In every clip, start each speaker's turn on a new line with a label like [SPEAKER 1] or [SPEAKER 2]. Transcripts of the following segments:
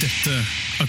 [SPEAKER 1] Dette er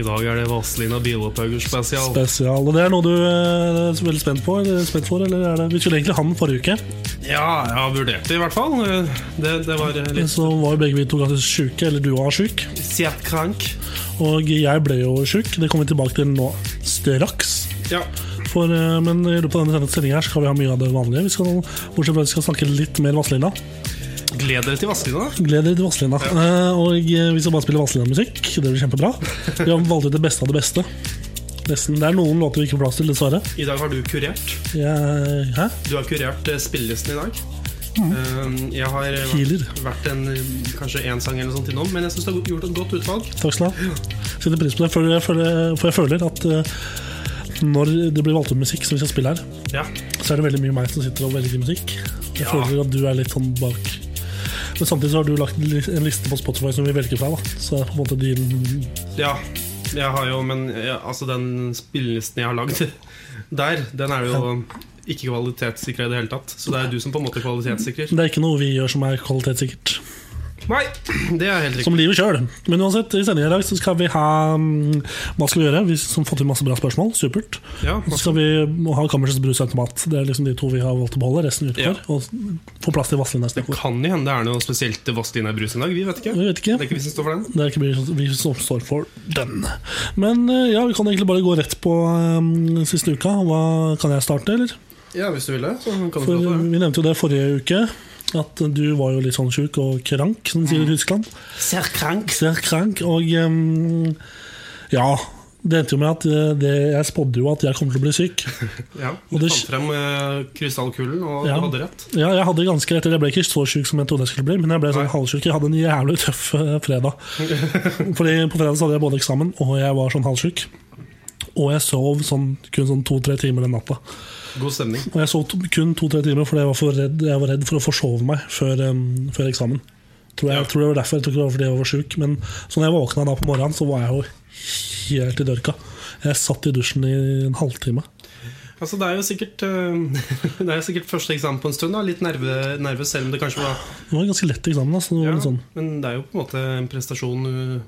[SPEAKER 1] I dag er det Vazelina Bilopphøger spesial.
[SPEAKER 2] Spesial. Og det er noe du eh, er veldig spent på? Eller spent for, eller er det Vi skulle egentlig ha den forrige uke,
[SPEAKER 1] Ja, jeg har vurdert det i hvert fall. Det, det var
[SPEAKER 2] men
[SPEAKER 1] litt
[SPEAKER 2] så var jo begge vi to ganske sjuke. Eller du var sjuk,
[SPEAKER 1] setkrank.
[SPEAKER 2] og jeg ble jo sjuk. Det kommer vi tilbake til nå straks.
[SPEAKER 1] Ja.
[SPEAKER 2] For, eh, men i løpet av denne sendinga her så skal vi ha mye av det vanlige. Vi skal, bortsett fra at vi skal snakke litt mer Vazelina.
[SPEAKER 1] Gled dere til Vazelina.
[SPEAKER 2] Gled dere til Vazelina. Eh, og eh, vi skal bare spille Vazelina-musikk. Det blir kjempebra. Vi har valgt ut det beste av det beste. Nesten. Det er noen låter vi ikke får plass til, dessverre.
[SPEAKER 1] I dag har du kurert.
[SPEAKER 2] Jeg, hæ?
[SPEAKER 1] Du har kurert eh, spillelisten i dag. Eh, Jeg har eh,
[SPEAKER 2] Mm. Healer.
[SPEAKER 1] vært en, eh, kanskje én sang eller sånt innom, men jeg syns du har gjort et godt utvalg.
[SPEAKER 2] Takk skal du ha. Setter pris på det, for jeg føler, for jeg føler at eh, når det blir valgt ut musikk som vi skal spille her,
[SPEAKER 1] Ja.
[SPEAKER 2] så er det veldig mye meg som sitter og velger musikk. Jeg
[SPEAKER 1] Ja.
[SPEAKER 2] føler at du er litt sånn bak. Men samtidig så har du lagt li- en liste på Spotify som vi velger fra, da. Så det er på en måte din
[SPEAKER 1] Ja, jeg har jo, men ja, altså den spillelisten jeg har lagd der, den er jo ikke kvalitetssikra i det hele tatt. Så det er du som på en måte kvalitetssikrer.
[SPEAKER 2] Det er ikke noe vi gjør som er kvalitetssikkert.
[SPEAKER 1] Nei, det er helt
[SPEAKER 2] Som
[SPEAKER 1] riktig.
[SPEAKER 2] livet sjøl. Men uansett, i sendingen i dag så skal vi ha mm, Hva skal vi gjøre? Vi har fått inn masse bra spørsmål. Supert.
[SPEAKER 1] Ja,
[SPEAKER 2] Så skal vi ha Kammersets brusautomat. Det er liksom de to vi har valgt å beholde. Resten utenfor. Og få plass til Vazelina neste uke.
[SPEAKER 1] kan jo hende det er noe spesielt Vastina-brus i dag. Vi vet ikke.
[SPEAKER 2] Vi vet ikke.
[SPEAKER 1] Det er ikke vi som står for den.
[SPEAKER 2] Det er ikke vi- vi som står for den. Men eh, ja, vi kan egentlig bare gå rett på eh, siste uka. Hva Kan jeg starte, eller?
[SPEAKER 1] Ja, hvis du vil det, så kan du
[SPEAKER 2] For
[SPEAKER 1] få lov til det.
[SPEAKER 2] Vi nevnte jo det forrige uke. At du var jo litt sånn sjuk og krank, som de sier i Tyskland.
[SPEAKER 1] Mm. Ser krank.
[SPEAKER 2] Ser krank, og ehm, ja Det endte jo med at eh, det, jeg spådde jo at jeg kom til å bli syk.
[SPEAKER 1] Ja,
[SPEAKER 2] Og
[SPEAKER 1] du
[SPEAKER 2] det-
[SPEAKER 1] fant frem eh, krystallkulen, og
[SPEAKER 2] Ja.
[SPEAKER 1] du hadde rett.
[SPEAKER 2] Ja, Jeg hadde ganske rett, eller jeg ble ikke så syk som jeg trodde jeg skulle bli, men jeg ble sånn
[SPEAKER 1] Nei.
[SPEAKER 2] halvsyk. Jeg hadde en jævlig tøff eh, fredag. Fordi På fredag så hadde jeg både eksamen, og jeg var sånn halvsyk. Og jeg sov sånn, kun sånn to-tre timer den natta.
[SPEAKER 1] God stemning.
[SPEAKER 2] Og jeg sov to, kun to-tre timer fordi jeg var, for redd, jeg var redd for å forsove meg før, em, før eksamen. Tror jeg,
[SPEAKER 1] Ja.
[SPEAKER 2] tror det var derfor. Jeg tror ikke det var fordi jeg var sjuk. Men så når jeg våkna da på morgenen, så var jeg jo helt i dørka. Jeg satt i dusjen i en halvtime.
[SPEAKER 1] Altså, det er jo sikkert, eh, det er jo sikkert første eksamen på en stund. Da. Litt nerve, nervøs, selv om det kanskje var
[SPEAKER 2] Det var en ganske lett eksamen. Altså. Det var
[SPEAKER 1] Ja,
[SPEAKER 2] litt sånn.
[SPEAKER 1] men det er jo på en måte en prestasjon uh,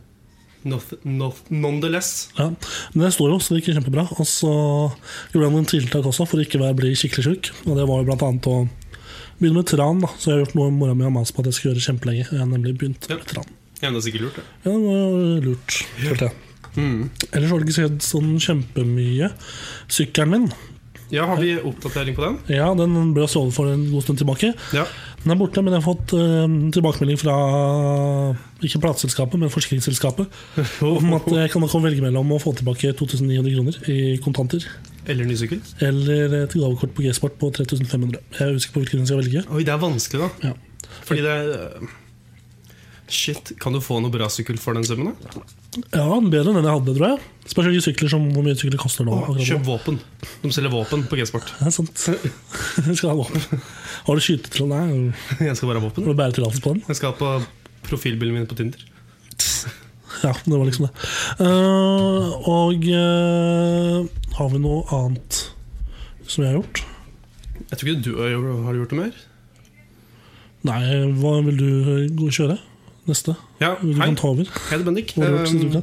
[SPEAKER 1] noth, noth, Nonetheless.
[SPEAKER 2] Ja. Men jeg sto jo, så det gikk kjempebra. Og så gjorde jeg noen tiltak også for å ikke være- bli skikkelig sjuk. Og det var jo blant annet å begynne med tran. da Så jeg har gjort noe mora mi har mast på at jeg skal gjøre kjempelenge. Jeg har nemlig begynt
[SPEAKER 1] Ja.
[SPEAKER 2] med tran.
[SPEAKER 1] Ja, det er sikkert lurt, det.
[SPEAKER 2] Ja, det var jo lurt, følte jeg. Ellers har det ikke skjedd sånn kjempemye. Sykkelen min
[SPEAKER 1] Ja, har vi oppdatering på den?
[SPEAKER 2] Ja, den ble stjålet for en god stund tilbake.
[SPEAKER 1] Ja.
[SPEAKER 2] Den er borte, men jeg har fått eh, tilbakemelding fra ikke plateselskapet, men forsikringsselskapet om at jeg kan nok velge mellom å få tilbake 2900 kroner i kontanter
[SPEAKER 1] Eller ny sykkel?
[SPEAKER 2] eller et gavekort på G-Sport på 3500. Jeg er usikker på hvilken jeg skal velge.
[SPEAKER 1] Oi, det er vanskelig, da.
[SPEAKER 2] Ja.
[SPEAKER 1] Fordi det er eh, Shit, kan du få noe bra sykkel for den summen? da?
[SPEAKER 2] ja, den er bedre enn den jeg hadde, tror jeg. Spørs hvilke sykler som hvor mye sykler koster nå. akkurat nå.
[SPEAKER 1] Kjøp våpen. De selger våpen på G-sport.
[SPEAKER 2] Det er sant. Jeg skal ha våpen. Har du skytetråd? Nei.
[SPEAKER 1] Jeg skal bare ha våpen.
[SPEAKER 2] Har du bæretillatelse på den?
[SPEAKER 1] Jeg skal ha på profilbildet min på Tinder.
[SPEAKER 2] Ja, det var liksom det. Eh, og eh, har vi noe annet som jeg har gjort?
[SPEAKER 1] Jeg tror ikke du har gjort- har du gjort noe mer.
[SPEAKER 2] Nei, hva vil du eh, gå og kjøre? Neste?
[SPEAKER 1] Ja,
[SPEAKER 2] Du
[SPEAKER 1] hei.
[SPEAKER 2] kan ta over.
[SPEAKER 1] Hei, det er Bendik.
[SPEAKER 2] Hva har du gjort siden du
[SPEAKER 1] Eh,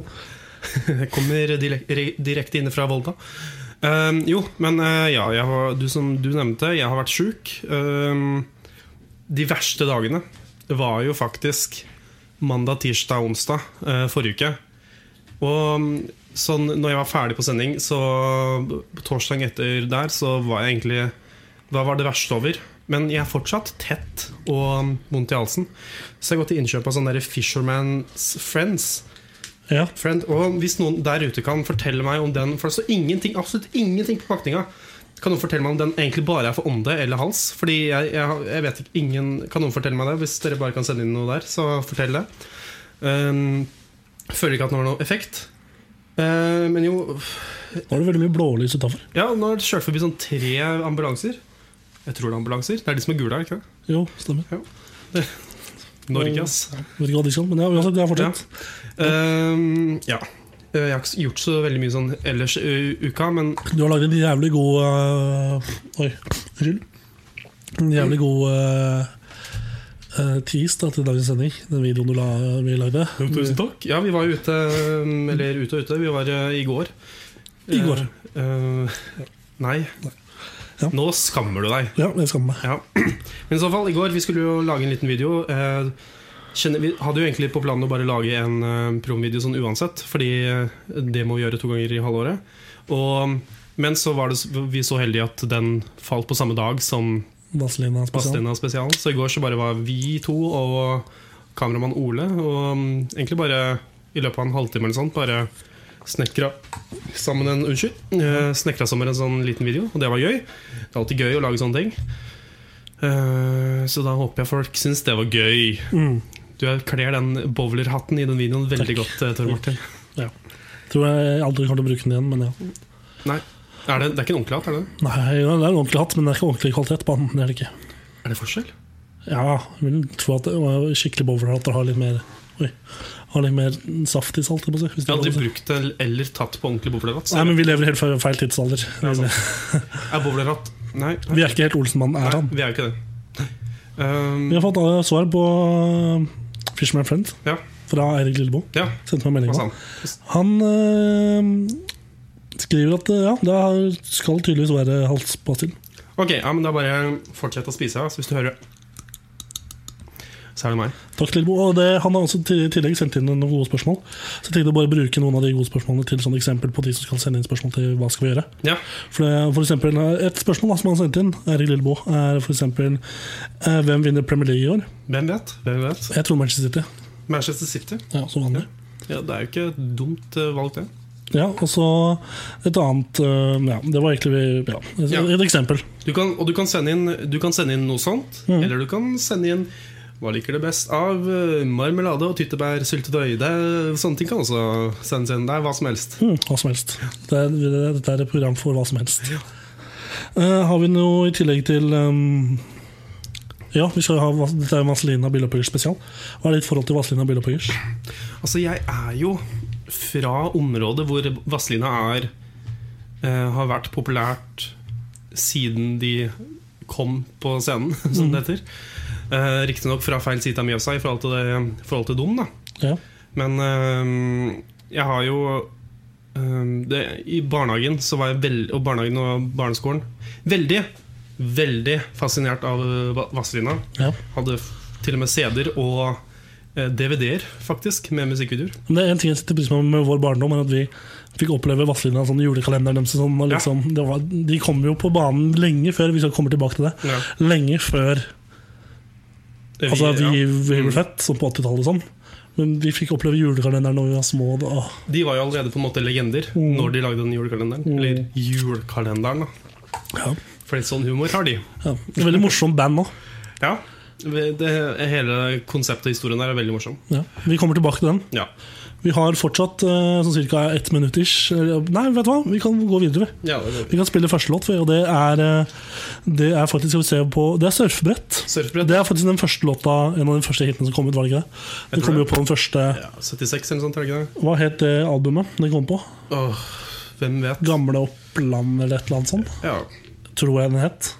[SPEAKER 2] kan?
[SPEAKER 1] Jeg kommer direk- re- direkte inne fra Volda. Ehm, jo, men eh, ja, jeg har, du som du nevnte, jeg har vært sjuk. Ehm, de verste dagene var jo faktisk mandag, tirsdag, onsdag eh, forrige uke. Og mm, sånn, når jeg var ferdig på sending, så torsdag etter der, så var jeg egentlig Da var det verste over. Men jeg er fortsatt tett og mm, vondt i halsen. Så jeg har gått til innkjøp av sånn der Fisherman's Friends.
[SPEAKER 2] Ja.
[SPEAKER 1] Friend, og hvis noen der ute kan fortelle meg om den For det står ingenting, absolutt ingenting på pakninga. Kan noen fortelle meg om den egentlig bare er for ånde eller hals? Fordi jeg, jeg, jeg vet ikke, ingen Kan noen fortelle meg det? Hvis dere bare kan sende inn noe der, så fortell det. Ehm, føler ikke at den har noen effekt. Ehm, men jo
[SPEAKER 2] Nå er det veldig mye blålys utafor.
[SPEAKER 1] Ja, nå har det kjørt forbi sånn tre ambulanser. Jeg tror det er ambulanser. Det er de som er gule her, ikke det?
[SPEAKER 2] Jo, stemmer.
[SPEAKER 1] Norge, ass.
[SPEAKER 2] Vet ikke hva de skal, men ja, uansett, det er fortsatt.
[SPEAKER 1] Ehm, ja. Jeg har ikke gjort så veldig mye sånn ellers i uka, men
[SPEAKER 2] Du har lagd en jævlig god øh, Oi, unnskyld. En jævlig god øh, øh, tease da, til dagens sending. Den videoen du la, vi lagde.
[SPEAKER 1] Tusen takk. Ja, vi var jo ute um, Eller ute og ute. Vi var eh, i går.
[SPEAKER 2] I går.
[SPEAKER 1] Eh, eh, nei.
[SPEAKER 2] Ja.
[SPEAKER 1] Nå skammer du deg.
[SPEAKER 2] Ja, jeg skammer meg.
[SPEAKER 1] Ja. Men i så fall, i går vi skulle jo lage en liten video. Eh, kjenner, vi hadde jo egentlig på planen å bare lage en eh, promvideo sånn uansett, fordi eh, det må vi gjøre to ganger i halvåret. Og, mm, men så var det, s- vi så heldige at den falt på samme dag som
[SPEAKER 2] Vazelina spesial.
[SPEAKER 1] Pastina spesialen. Så i går så bare var vi to og kameramann Ole. Og mm, egentlig bare i løpet av en halvtime eller sånt bare snekra sammen en Unnskyld. eh, Snekra sammen en sånn liten video, og det var gøy. Det er alltid gøy å lage sånne ting. Eh, Så da håper jeg folk syns det var gøy.
[SPEAKER 2] Mm.
[SPEAKER 1] Du kler den bowlerhatten i den videoen veldig godt, eh, Tor Martin.
[SPEAKER 2] Tror jeg aldri kommer til å bruke den igjen, men ja.
[SPEAKER 1] Nei, er det, det er ikke en ordentlig hatt, er det?
[SPEAKER 2] Nei, det er en ordentlig hatt, men det er ikke ordentlig kvalitet på den. Det er det ikke.
[SPEAKER 1] Er det forskjell?
[SPEAKER 2] Ja, jeg vil tro at øh, skikkelig bowlerhatter har litt mer Oi. Har litt mer saft i salt, jeg må si. Hvis
[SPEAKER 1] Jeg
[SPEAKER 2] det er lov å
[SPEAKER 1] har aldri
[SPEAKER 2] si.
[SPEAKER 1] brukt det eller tatt på ordentlig bowlerhatt. så
[SPEAKER 2] Nei, men vi lever i helt feil- feil tidsalder.
[SPEAKER 1] Ja, Er bowlerhatt Nei, nei,
[SPEAKER 2] Vi er ikke helt Olsenmannen er han.
[SPEAKER 1] nei, vi er jo ikke det. Um,
[SPEAKER 2] Vi har fått eh, svar på eh, Fisherman Friend
[SPEAKER 1] Ja.
[SPEAKER 2] fra Eirik Lillebo.
[SPEAKER 1] Ja,
[SPEAKER 2] Sendte meg melding.
[SPEAKER 1] hva
[SPEAKER 2] om han.
[SPEAKER 1] sa han?
[SPEAKER 2] Han eh, skriver at eh, ja, det er- skal tydeligvis være halspastill.
[SPEAKER 1] Ok, ja, men da bare fortsett å spise. Så hvis du hører Så er det meg.
[SPEAKER 2] Takk, Lillebo. Og det, han har også til- i tillegg sendt inn noen gode spørsmål. Så jeg tenkte å bare bruke noen av de gode spørsmålene til sånn eksempel på de som skal sende inn spørsmål til hva skal vi gjøre.
[SPEAKER 1] Ja,
[SPEAKER 2] For, det, for eksempel, eh, Et spørsmål da, som han har sendt inn, Eirik Lillebo, er for eksempel eh, hvem vinner Premier League i år?
[SPEAKER 1] Hvem vet? hvem vet
[SPEAKER 2] Jeg tror Manchester City.
[SPEAKER 1] Manchester City.
[SPEAKER 2] Ja, som vanlig.
[SPEAKER 1] Ja, Det er jo ikke et dumt eh, valg, det.
[SPEAKER 2] Ja, og så et annet øh, Ja, det var egentlig ja, et,
[SPEAKER 1] Ja.
[SPEAKER 2] et eksempel.
[SPEAKER 1] Du kan, og du kan, sende inn, du kan sende inn noe sånt. Eller du kan sende inn hva liker du best av eh, marmelade og tyttebærsyltetøy? Det er- Sånne ting kan også sendes inn. Det er hva som helst.
[SPEAKER 2] Mm, hva som helst. Det er, det- dette er et program for hva som helst. Eh, har vi noe i tillegg til øhm, Ja, vi skal ha, vas- dette er Vazelina Bilopphøggers spesial. Hva er ditt forhold til Vazelina Bilopphøggers?
[SPEAKER 1] Altså, jeg er jo fra området hvor Vazelina er eh, Har vært populært siden de kom på scenen, som det heter. Eh, Riktignok fra feil side av Mjøsa i forhold til, det, forhold til Dom, da.
[SPEAKER 2] Ja.
[SPEAKER 1] Men ehm, jeg har jo ehm, det, I barnehagen så var jeg veld, og barnehagen og barneskolen veldig, veldig fascinert av eh, Vazelina.
[SPEAKER 2] ja.
[SPEAKER 1] Hadde f- til og med CD-er og eh, DVD-er, faktisk, med musikkvideoer.
[SPEAKER 2] Men det er En ting jeg setter pris på med vår barndom, er at vi fikk oppleve Vazelina sånn i julekalenderen deres. og Sånn, og
[SPEAKER 1] Ja.
[SPEAKER 2] liksom, det var, de kom jo på banen lenge før, hvis jeg kommer tilbake til det.
[SPEAKER 1] Ja.
[SPEAKER 2] Lenge før
[SPEAKER 1] Vi-
[SPEAKER 2] Altså, vi,
[SPEAKER 1] ja. Mm.
[SPEAKER 2] vi ble født sånn på 80-tallet og sånn. Men vi fikk oppleve julekalenderen da vi var små. Da. Åh,
[SPEAKER 1] De var jo allerede på en måte legender
[SPEAKER 2] Mm.
[SPEAKER 1] når de lagde den julekalenderen. Eller julekalenderen, da.
[SPEAKER 2] Ja.
[SPEAKER 1] For litt sånn humor har de.
[SPEAKER 2] Ja. Det er Veldig morsomt band òg.
[SPEAKER 1] Ja. Det, hele konseptet og historien der er veldig morsom.
[SPEAKER 2] Ja. Vi kommer tilbake til den.
[SPEAKER 1] Ja.
[SPEAKER 2] Vi har fortsatt eh, sånn ca. ett minutt ish. Eller, Nei, vet du hva? Vi kan gå videre. vi.
[SPEAKER 1] ja det er
[SPEAKER 2] Vi kan spille første låt, vi, og det er, eh, det er faktisk skal vi se på Det er surfebrett.
[SPEAKER 1] Surfbrett.
[SPEAKER 2] Det er faktisk den første låta, en av de første hitene som kom ut, var det ikke det? Den
[SPEAKER 1] tror
[SPEAKER 2] kom jo
[SPEAKER 1] det.
[SPEAKER 2] på den første
[SPEAKER 1] Ja, 76 eller sånt, er det ikke det?
[SPEAKER 2] Hva het det albumet den kom på?
[SPEAKER 1] Åh, hvem vet?
[SPEAKER 2] Gamle Oppland eller et eller annet sånt?
[SPEAKER 1] Ja.
[SPEAKER 2] Tror jeg den het.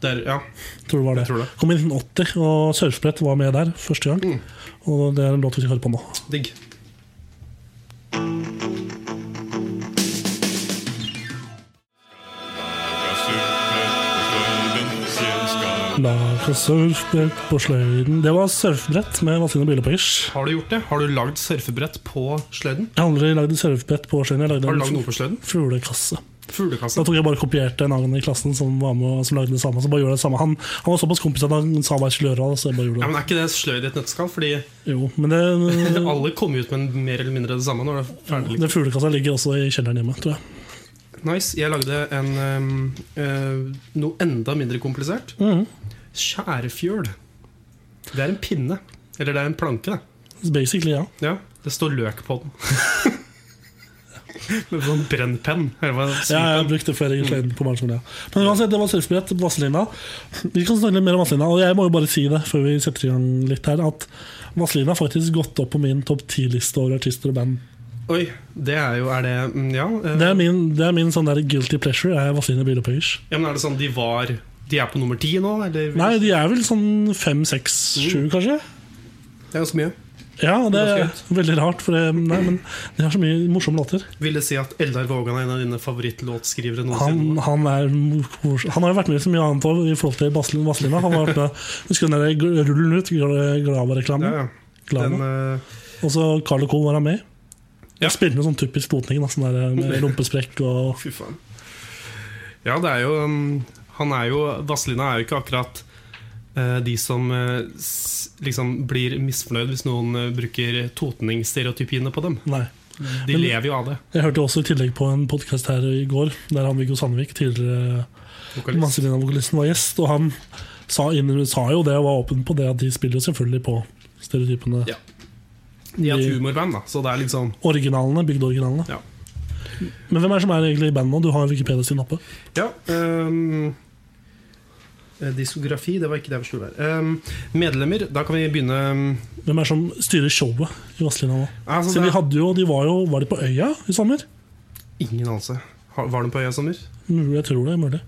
[SPEAKER 1] Der, ja.
[SPEAKER 2] Tror det var det.
[SPEAKER 1] Jeg tror det. Mm.
[SPEAKER 2] Kom i 1980, og surfbrett var med der første gang. Og det er en låt vi skal høre på nå.
[SPEAKER 1] Digg.
[SPEAKER 2] La oss surfbrett på sløyden Det var surfbrett med Vazelina Biloppøggers.
[SPEAKER 1] Har du gjort det? Har du lagd surfebrett på sløyden?
[SPEAKER 2] Jeg har aldri lagd surfbrett på sløyden. Jeg lagde
[SPEAKER 1] Har
[SPEAKER 2] en
[SPEAKER 1] du lagd noe
[SPEAKER 2] fu-
[SPEAKER 1] på sløyden?
[SPEAKER 2] fuglekasse.
[SPEAKER 1] Fuglekasse.
[SPEAKER 2] Da tok jeg bare og kopierte en annen i klassen som, var med, som lagde det samme. Så bare gjorde jeg det samme Han, han var såpass kompis at han sa hva jeg skulle gjøre. da, Så jeg bare
[SPEAKER 1] Ja,
[SPEAKER 2] gjorde det.
[SPEAKER 1] men Er ikke det sløyd i et nøtteskall? Fordi
[SPEAKER 2] Jo, men det,
[SPEAKER 1] alle kommer ut med mer eller mindre det samme. Når det er ferdig liksom.
[SPEAKER 2] den fuglekassa ligger også i kjelleren hjemme, tror jeg.
[SPEAKER 1] Nice. Jeg lagde en, ehm, eh, noe enda mindre komplisert.
[SPEAKER 2] Mhm.
[SPEAKER 1] Skjærefjøl. Det er en pinne. Eller det er en planke, det.
[SPEAKER 2] Basically, ja.
[SPEAKER 1] Ja, det står løk på den. Med sånn brennpenn. Eller hva
[SPEAKER 2] Ja, jeg brukte flere flere på barneskolen. Ja. Men uansett, det var surfebrett på Vazelina. Vi kan snakke litt mer om Vazelina. Og jeg må jo bare si det før vi setter i gang litt her, at Vazelina har faktisk gått opp på min topp ti-liste over artister og band.
[SPEAKER 1] Oi, det er jo Er det mm, Ja. eh,
[SPEAKER 2] Det er min, det er min sånn der guilty pleasure. er Vazelina Bilopphøyers.
[SPEAKER 1] ja men er det sånn de var De er på nummer ti nå, eller?
[SPEAKER 2] Nei, de er vel sånn fem, seks, sju, kanskje?
[SPEAKER 1] Det er ganske mye.
[SPEAKER 2] Ja, det er
[SPEAKER 1] Mm. Ganske
[SPEAKER 2] veldig rart, for det, nei, men de har så mye morsomme låter.
[SPEAKER 1] Vil det si at Eldar Vågan er en av dine favorittlåtskrivere
[SPEAKER 2] Han,
[SPEAKER 1] noensinne?
[SPEAKER 2] han, er, mors- han har jo vært med i så mye annet også, i forhold til Vazelina- Vazelina. Han har vært med, Husker du den der gl- rullen ut? gl- Glava-reklamen?
[SPEAKER 1] Ja, ja.
[SPEAKER 2] Glava.
[SPEAKER 1] Den, eh,
[SPEAKER 2] Og så Carl og Co. var han med.
[SPEAKER 1] Ja.
[SPEAKER 2] Jeg spilte med sånn typisk Totning, da, sånn der, med rumpesprekk og
[SPEAKER 1] Fy faen. Ja, det er jo um, Han er jo Vazelina er jo ikke akkurat eh, de som eh, s, liksom blir misfornøyd hvis noen eh, bruker totningsstereotypiene på dem.
[SPEAKER 2] Nei.
[SPEAKER 1] De
[SPEAKER 2] Men-
[SPEAKER 1] lever jo av det.
[SPEAKER 2] Jeg hørte også i tillegg på en podkast her i går, der han Viggo Sandvik, tidligere
[SPEAKER 1] Vokalist.
[SPEAKER 2] Vazelina-vokalisten, var gjest. Og han sa, inn, sa jo det, og var åpen på det, at de spiller jo selvfølgelig på stereotypene.
[SPEAKER 1] Ja. De er et
[SPEAKER 2] de-
[SPEAKER 1] humorband, da, så det er liksom
[SPEAKER 2] Originalene, bygd originalene.
[SPEAKER 1] Ja.
[SPEAKER 2] Men hvem er det som er egentlig i bandet nå? Du har Wikipedia-siden oppe.
[SPEAKER 1] Ja. Um, eh, diskografi, det var ikke det jeg skulle være. Um, medlemmer, da kan vi begynne um,
[SPEAKER 2] Hvem er det som styrer showet i Vazelina nå?
[SPEAKER 1] altså,
[SPEAKER 2] Så
[SPEAKER 1] det
[SPEAKER 2] de
[SPEAKER 1] er-
[SPEAKER 2] hadde jo, de var jo Var de på Øya i sommer?
[SPEAKER 1] Ingen anelse. Ha- Var de på Øya i sommer?
[SPEAKER 2] Mulig, Jeg tror det er mulig.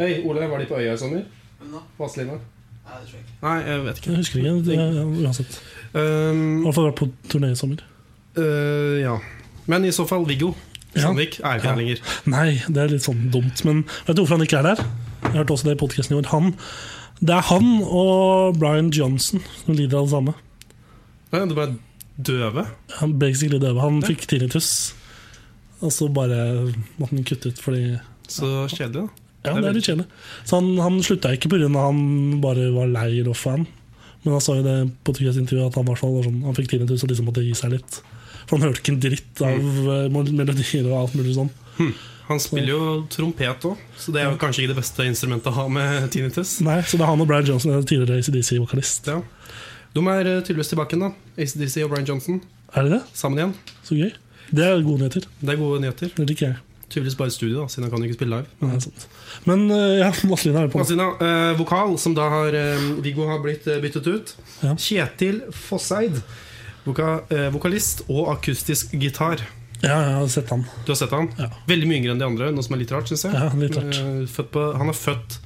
[SPEAKER 1] Øy, Ole, var de på Øya i sommer?
[SPEAKER 3] Hvem da?
[SPEAKER 1] Vazelina?
[SPEAKER 3] Nei, det tror jeg ikke.
[SPEAKER 1] Nei, jeg vet ikke.
[SPEAKER 2] Jeg husker ikke. Det, ja, uansett.
[SPEAKER 1] Um,
[SPEAKER 2] I hvert fall vært på turné i sommer.
[SPEAKER 1] Øh, ja. Men i så fall Viggo
[SPEAKER 2] Ja.
[SPEAKER 1] Sandvik er ikke
[SPEAKER 2] Ja.
[SPEAKER 1] her lenger.
[SPEAKER 2] Nei, det er litt sånn dumt. Men vet du hvorfor han ikke er der? Jeg hørte også det i podkasten i år. Han, det er han og Brian Johnson som lider av det samme.
[SPEAKER 1] Nei, Du ble døve.
[SPEAKER 2] Han ble basically døve. Han fikk tinnitus, og så bare måtte han kutte ut fordi
[SPEAKER 1] Så kjedelig, da.
[SPEAKER 2] Ja, det er litt kjedelig. Så han, han slutta ikke pga. at han bare var lei og fan. Men han sa jo det på intervjuet at han, i hvert fall var sånn, han fikk tinnitus og liksom måtte gi seg litt. For han hørte ikke en dritt av eh, melodier og alt mulig sånn.
[SPEAKER 1] Han spiller jo trompet òg, så det er jo kanskje ikke det beste instrumentet å ha med tinnitus.
[SPEAKER 2] Nei, Så det er han og Brian Johnson, en tidligere ACDC-vokalist.
[SPEAKER 1] Ja. De er øh, tydeligvis tilbake igjen, da. ACDC og Brian Johnson
[SPEAKER 2] Er det det?
[SPEAKER 1] sammen igjen.
[SPEAKER 2] Så gøy. Det er gode nyheter.
[SPEAKER 1] Det er gode nyheter.
[SPEAKER 2] Det liker jeg.
[SPEAKER 1] Tydeligvis bare i studio, da, siden han kan jo ikke spille live.
[SPEAKER 2] Det er sant. Men eh, ja, Vazelina er på.
[SPEAKER 1] Vazelina, øh, vokal, som da har øh, Viggo har blitt øh, byttet ut.
[SPEAKER 2] Ja.
[SPEAKER 1] Kjetil Fosseid, voka, øh, vokalist og akustisk gitar.
[SPEAKER 2] Ja, jeg har sett han.
[SPEAKER 1] Du har sett han?
[SPEAKER 2] Ja.
[SPEAKER 1] Veldig mye yngre enn de andre, noe som er litt rart, syns jeg.
[SPEAKER 2] Ja, litt rart.
[SPEAKER 1] Eh, Født på, han er født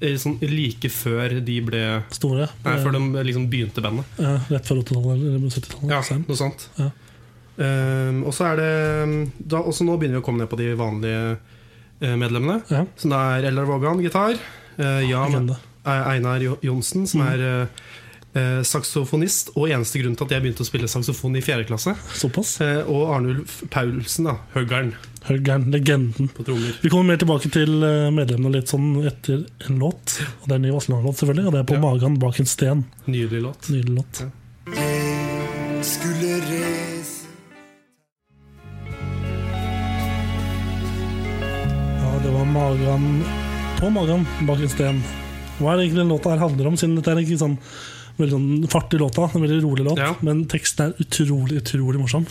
[SPEAKER 1] eh, sånn like før de ble
[SPEAKER 2] Store.
[SPEAKER 1] Nei, før de liksom begynte bandet.
[SPEAKER 2] Ja, rett før 80-tallet eller 70-tallet.
[SPEAKER 1] Ja,
[SPEAKER 2] Sam.
[SPEAKER 1] noe sånt.
[SPEAKER 2] Ja.
[SPEAKER 1] Eh, og så er det mm, da, Også nå begynner vi å komme ned på de vanlige eh, medlemmene.
[SPEAKER 2] Ja,
[SPEAKER 1] Som det er Eldar Vågan, gitar. Eh, Jan
[SPEAKER 2] legende. Mm.
[SPEAKER 1] Einar Jo- Johnsen, som er eh, eh, saksofonist. Og eneste grunn til at jeg begynte å spille saksofon i fjerde klasse.
[SPEAKER 2] Såpass.
[SPEAKER 1] Eh, og Arnulf Paulsen, da, høggeren,
[SPEAKER 2] Høggern, legenden.
[SPEAKER 1] på trommer.
[SPEAKER 2] Vi kommer mer tilbake til eh, medlemmene litt sånn etter en låt. Og det er en ny Vazelina-låt, selvfølgelig. Og det er på
[SPEAKER 1] Ja.
[SPEAKER 2] magen bak en sten.
[SPEAKER 1] Nydelig låt.
[SPEAKER 2] Nydelig låt.
[SPEAKER 3] Skulle reise
[SPEAKER 2] Ja, det var magen på magen bak en sten. Hva er det egentlig den låta her handler om? Siden dette er ikke sånn veldig sånn fartig låta, en veldig rolig låt,
[SPEAKER 1] Ja.
[SPEAKER 2] men teksten er utrolig, utrolig morsom.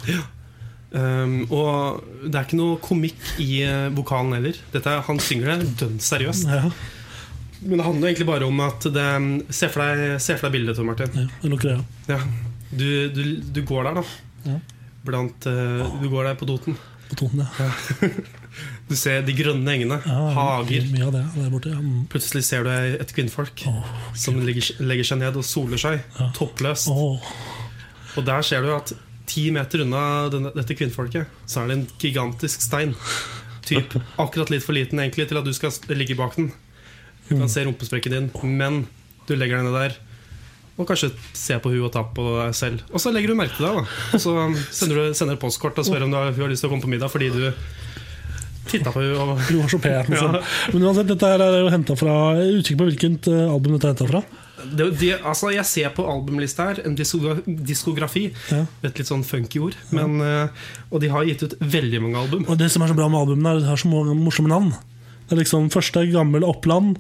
[SPEAKER 1] Um, og det er ikke noe komikk i eh, vokalen heller. Dette, er- han synger det dønn seriøst.
[SPEAKER 2] Ja.
[SPEAKER 1] Men det handler egentlig bare om at det ehm, Se for deg, se for deg bildet, Tor Martin.
[SPEAKER 2] Ja, jeg lukker øya.
[SPEAKER 1] Ja. Du, du, du går der, da.
[SPEAKER 2] Ja.
[SPEAKER 1] Blant eh, Du går der på Toten.
[SPEAKER 2] På tonen, ja.
[SPEAKER 1] Du ser de grønne engene.
[SPEAKER 2] ja
[SPEAKER 1] hager.
[SPEAKER 2] Mye av det der borte. Ja. Mm.
[SPEAKER 1] Plutselig ser du et kvinnfolk
[SPEAKER 2] Åh,
[SPEAKER 1] som legger, legger seg ned og soler seg. Toppløst.
[SPEAKER 2] åh.
[SPEAKER 1] Og der ser du at ti meter unna denne, dette kvinnfolket, så er det en gigantisk stein. Typ akkurat litt for liten egentlig til at du skal s- ligge bak den. Du kan se rumpesprekken din, men du legger deg ned der. Og kanskje se på hun og ta på deg selv. Og så um, legger du merke til det. da Og så sender du sender et postkort og spør om du har, hun har lyst til å komme på middag fordi du Titta på henne og
[SPEAKER 2] Du var så pen. Liksom.
[SPEAKER 1] Ja.
[SPEAKER 2] Men uansett, dette her er jo hentet fra Jeg er usikker på hvilket eh, album dette er henta fra.
[SPEAKER 1] det, er jo det, altså Jeg ser på albumlista her en diskogra- diskografi.
[SPEAKER 2] Ja.
[SPEAKER 1] Et litt sånn funky ord. Men, eh, og de har gitt ut veldig mange album.
[SPEAKER 2] Og det som er så bra med albumene, er at de har så mange morsomme navn. Det er liksom Første er Gammel Oppland.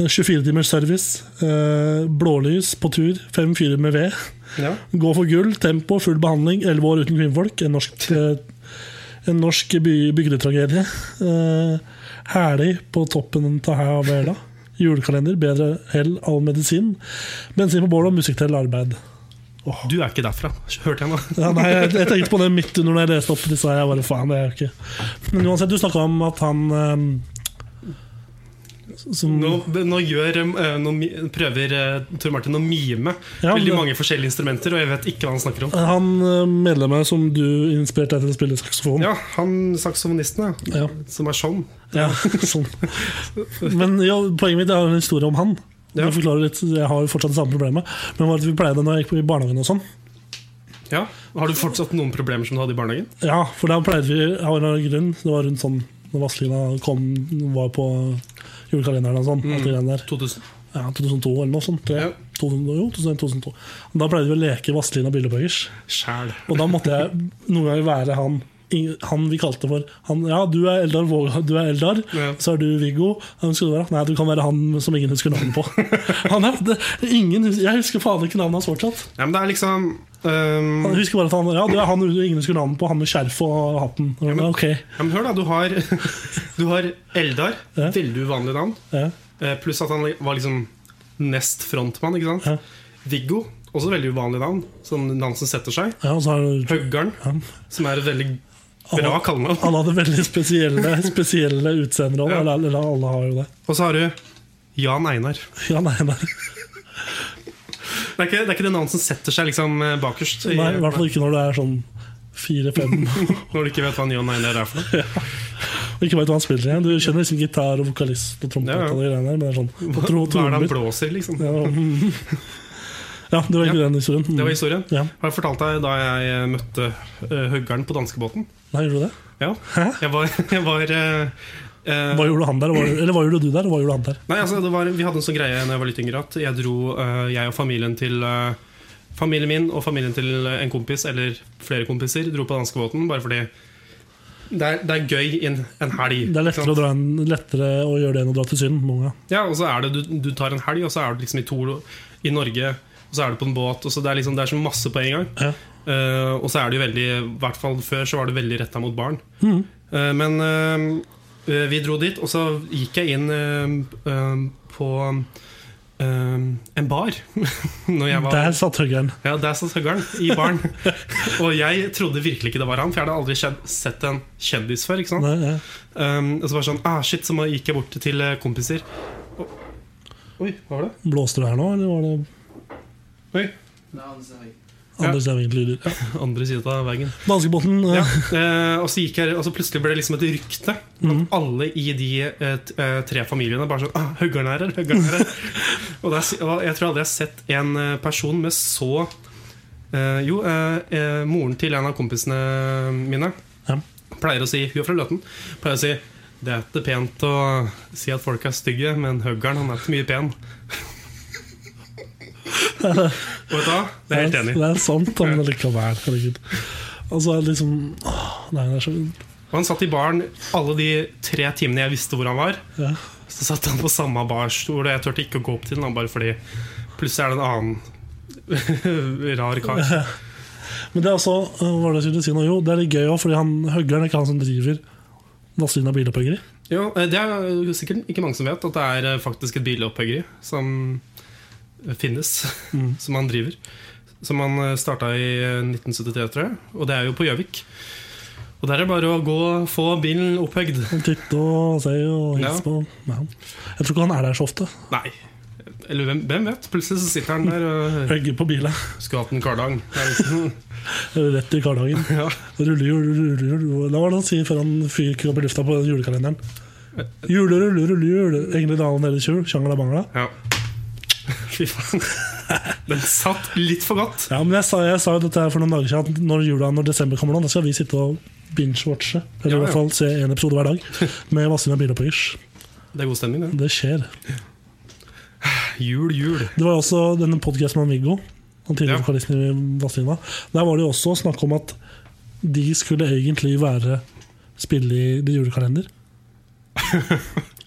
[SPEAKER 2] eh, 24 timers service. eh, Blålys på tur. Fem fyrer med ved.
[SPEAKER 1] Ja.
[SPEAKER 2] Gå for gull. Tempo. Full behandling. Elleve år uten kvinnfolk. En norsk, eh, en norsk by, bygdetragedie. eh, Herlig på toppen av Hæla. Julekalender. Bedre hell, all medisin. Bensin på bålet og musikk til arbeid.
[SPEAKER 1] Du er ikke derfra, hørte jeg nå.
[SPEAKER 2] Ja, nei, jeg, jeg tenkte på det midt under når jeg leste opp disse. her, Jeg bare, faen, det er jo ikke Men uansett, du snakka om at han eh, Som
[SPEAKER 1] Nå, nå gjør, eh, nå mi- prøver eh, Tor Martin å mime
[SPEAKER 2] Ja,
[SPEAKER 1] veldig
[SPEAKER 2] men-
[SPEAKER 1] mange forskjellige instrumenter, og jeg vet ikke hva han snakker om.
[SPEAKER 2] Han eh, medlemmet som du inspirerte deg til å spille saksofon.
[SPEAKER 1] Ja, han saksofonisten, ja.
[SPEAKER 2] Ja.
[SPEAKER 1] Som er sånn.
[SPEAKER 2] Ja, sånn. Men ja, poenget mitt er en historie om han.
[SPEAKER 1] Ja.
[SPEAKER 2] Jeg, forklarer litt, jeg har jo fortsatt det samme problemet. Men var at vi pleide når jeg gikk på- i barnehagen og sånn.
[SPEAKER 1] Ja. Har du fortsatt noen problemer som du hadde i barnehagen?
[SPEAKER 2] Ja, for da pleide vi av en eller annen grunn Det var rundt sånn når Vazelina kom, var på julekalenderen og sånn.
[SPEAKER 1] Mm.
[SPEAKER 2] Alt det greiene der.
[SPEAKER 1] 2000.
[SPEAKER 2] Ja, 2002 eller noe sånt. Tre.
[SPEAKER 1] Ja.
[SPEAKER 2] 2000, jo, 2001, 2002. Da pleide vi å leke Vazelina Billebøggers.
[SPEAKER 1] Sjæl.
[SPEAKER 2] Og da måtte jeg noen ganger være han ing- han vi kalte for han, Ja, du er Eldar Våga, du er Eldar.
[SPEAKER 1] Ja.
[SPEAKER 2] Så er du Viggo. Hvem skal du være? Nei, du kan være han som ingen husker navnet på. Han er, det, ingen, hus- jeg husker faen ikke navnet hans fortsatt.
[SPEAKER 1] Ja, men det er liksom ehm,
[SPEAKER 2] Jeg husker bare at han, ja, du er han ingen husker navnet på, han med skjerf og hatten. Ja,
[SPEAKER 1] men-
[SPEAKER 2] ok,
[SPEAKER 1] ja, men hør, da. Du har, du har Eldar.
[SPEAKER 2] Ja.
[SPEAKER 1] Veldig uvanlig navn.
[SPEAKER 2] ja.
[SPEAKER 1] Eh, Pluss at han var liksom nest frontmann, ikke sant?
[SPEAKER 2] Ja.
[SPEAKER 1] Viggo, også veldig uvanlig navn. Sånn navn som setter seg.
[SPEAKER 2] ja, og så har du
[SPEAKER 1] Høggaren,
[SPEAKER 2] ja.
[SPEAKER 1] som er et veldig bra
[SPEAKER 2] Alle-
[SPEAKER 1] kallenavn.
[SPEAKER 2] Alle hadde veldig spesielle, spesielle utseender.
[SPEAKER 1] Ja.
[SPEAKER 2] Eller, eller alle har jo det.
[SPEAKER 1] Og så har du Jan Einar.
[SPEAKER 2] Ja, nei, nei.
[SPEAKER 1] Det er ikke det, er ikke det navnet som setter seg liksom eh, bakerst. i-
[SPEAKER 2] Nei, i hvert fall ikke når du er sånn fire-fem
[SPEAKER 1] Når du ikke vet hva en Jan Einar er for noe.
[SPEAKER 2] og ikke vet hva han spiller igjen. Du skjønner liksom gitar og vokalist og trompet
[SPEAKER 1] Ja, ja.
[SPEAKER 2] og de greiene der, men det er sånn og tro,
[SPEAKER 1] Hva er det han
[SPEAKER 2] trommer.
[SPEAKER 1] blåser, liksom?
[SPEAKER 2] Ja, mm. ja, det var ikke
[SPEAKER 1] Ja.
[SPEAKER 2] den historien. Mm.
[SPEAKER 1] Det var historien.
[SPEAKER 2] Ja.
[SPEAKER 1] Har jeg fortalt deg da jeg eh, møtte eh, Høggaren på danskebåten?
[SPEAKER 2] Nei, gjorde du det?
[SPEAKER 1] Ja. Jeg var, jeg var eh, eh,
[SPEAKER 2] Hva gjorde han der? og Hva, eller hva gjorde du der, og hva gjorde han der?
[SPEAKER 1] Nei, altså, det var, Vi hadde en sånn greie da jeg var litt yngre at jeg dro eh, jeg og familien til eh, Familien min og familien til en kompis eller flere kompiser dro på danskebåten bare fordi det er, det er gøy i en, en helg.
[SPEAKER 2] Det er lettere
[SPEAKER 1] ikke sant?
[SPEAKER 2] å, dra en, lettere å gjøre det enn å dra til Syden. Mange.
[SPEAKER 1] Ja, og så er det, du, du tar en helg, og så er du liksom i Tolo i Norge. Og så er du på en båt. og så Det er liksom, det er så masse på en gang.
[SPEAKER 2] Ja.
[SPEAKER 1] Eh, og så er det jo veldig, i hvert fall før, så var det veldig retta mot barn.
[SPEAKER 2] Mhm.
[SPEAKER 1] Eh, men eh, vi dro dit, og så gikk jeg inn eh, eh, på eh, en bar. Når jeg var
[SPEAKER 2] Der satt høggeren.
[SPEAKER 1] Ja, der satt høggeren, i baren. og jeg trodde virkelig ikke det var han, for jeg hadde aldri skjedd- sett en kjendis før. ikke sant?
[SPEAKER 2] Nei, ja.
[SPEAKER 1] Um, og så var det sånn ah, Shit, så må- gikk jeg bort til eh, kompiser. Og- Oi, hva var det?
[SPEAKER 2] Blåste du her nå, eller var det
[SPEAKER 1] Oi,
[SPEAKER 2] andre Staving-lyder? Ja.
[SPEAKER 1] Andre siden av veien.
[SPEAKER 2] Danskebåten.
[SPEAKER 1] Ja.
[SPEAKER 2] Ja. Mhm.
[SPEAKER 1] Eh, og, så gikk jeg, og så plutselig ble det liksom et rykte blant alle i de eh, t- eh, tre familiene. Bare sånn ah, 'Høggeren er her, høggeren er her'. og, der, si- og jeg tror aldri jeg har sett en eh, person med så eh, Jo, eh, eh, moren til en av kompisene mine
[SPEAKER 2] Ja.
[SPEAKER 1] pleier å si Hun er fra Løten. Pleier å si det er ikke pent å si at folk er stygge, men høggeren han er ikke mye pen. Og vet du hva? Det er jeg helt enig. i.
[SPEAKER 2] Det er sant, men likevel. Herregud. Altså, liksom åh, Nei, det er så
[SPEAKER 1] Og han satt i baren alle de tre timene jeg visste hvor han var.
[SPEAKER 2] ja.
[SPEAKER 1] Så satt han på samme barstol, og jeg turte ikke å gå opp til den. han Bare fordi plutselig er det en annen rar kar.
[SPEAKER 2] Men det er også, øh, hva var det jeg skulle si nå? Jo, det er litt gøy òg, fordi han høggeren er ikke han som driver Vazelina Bilopphøggeri.
[SPEAKER 1] Jo, eh, det er jo sikkert ikke mange som vet at det er eh, faktisk et bilopphuggeri som finnes, som han driver. Som han starta i eh, 1973, tror jeg. Og det er jo på Gjøvik. Og der er det bare å gå og få bilen opphøgd.
[SPEAKER 2] Han titter og ser og hilser
[SPEAKER 1] Ja.
[SPEAKER 2] på. Ja. Jeg tror ikke han er der så ofte.
[SPEAKER 1] Nei. Eller hvem, hvem vet? Plutselig så sitter han der og
[SPEAKER 2] Høgger på bilen.
[SPEAKER 1] skulle hatt en kardang. Det er liksom-
[SPEAKER 2] Rett i kardagen.
[SPEAKER 1] Ja.
[SPEAKER 2] Rullehjul, rullehjul Hva var det han sier før han fyker opp i lufta på julekalenderen? Jule, rulle, rulle, jule. Egentlig dalen deres jul. Sjangla bangla.
[SPEAKER 1] Ja. Fy faen. Den satt litt for godt.
[SPEAKER 2] Ja, men jeg sa, jeg sa jo dette her for noen dager siden, at når jula, når desember kommer nå, da skal vi sitte og binge-watche. Eller
[SPEAKER 1] Ja,
[SPEAKER 2] i
[SPEAKER 1] ja.
[SPEAKER 2] hvert fall se en episode hver dag med Vazelina Bilopphøyers.
[SPEAKER 1] Det er god stemning, det.
[SPEAKER 2] Det skjer.
[SPEAKER 1] Jul, jul.
[SPEAKER 2] Det var også denne podcasten med Viggo, han tidligere
[SPEAKER 1] Ja.
[SPEAKER 2] vokalisten i Vazelina. Der var det jo også snakk om at de skulle egentlig være spille i The julekalender.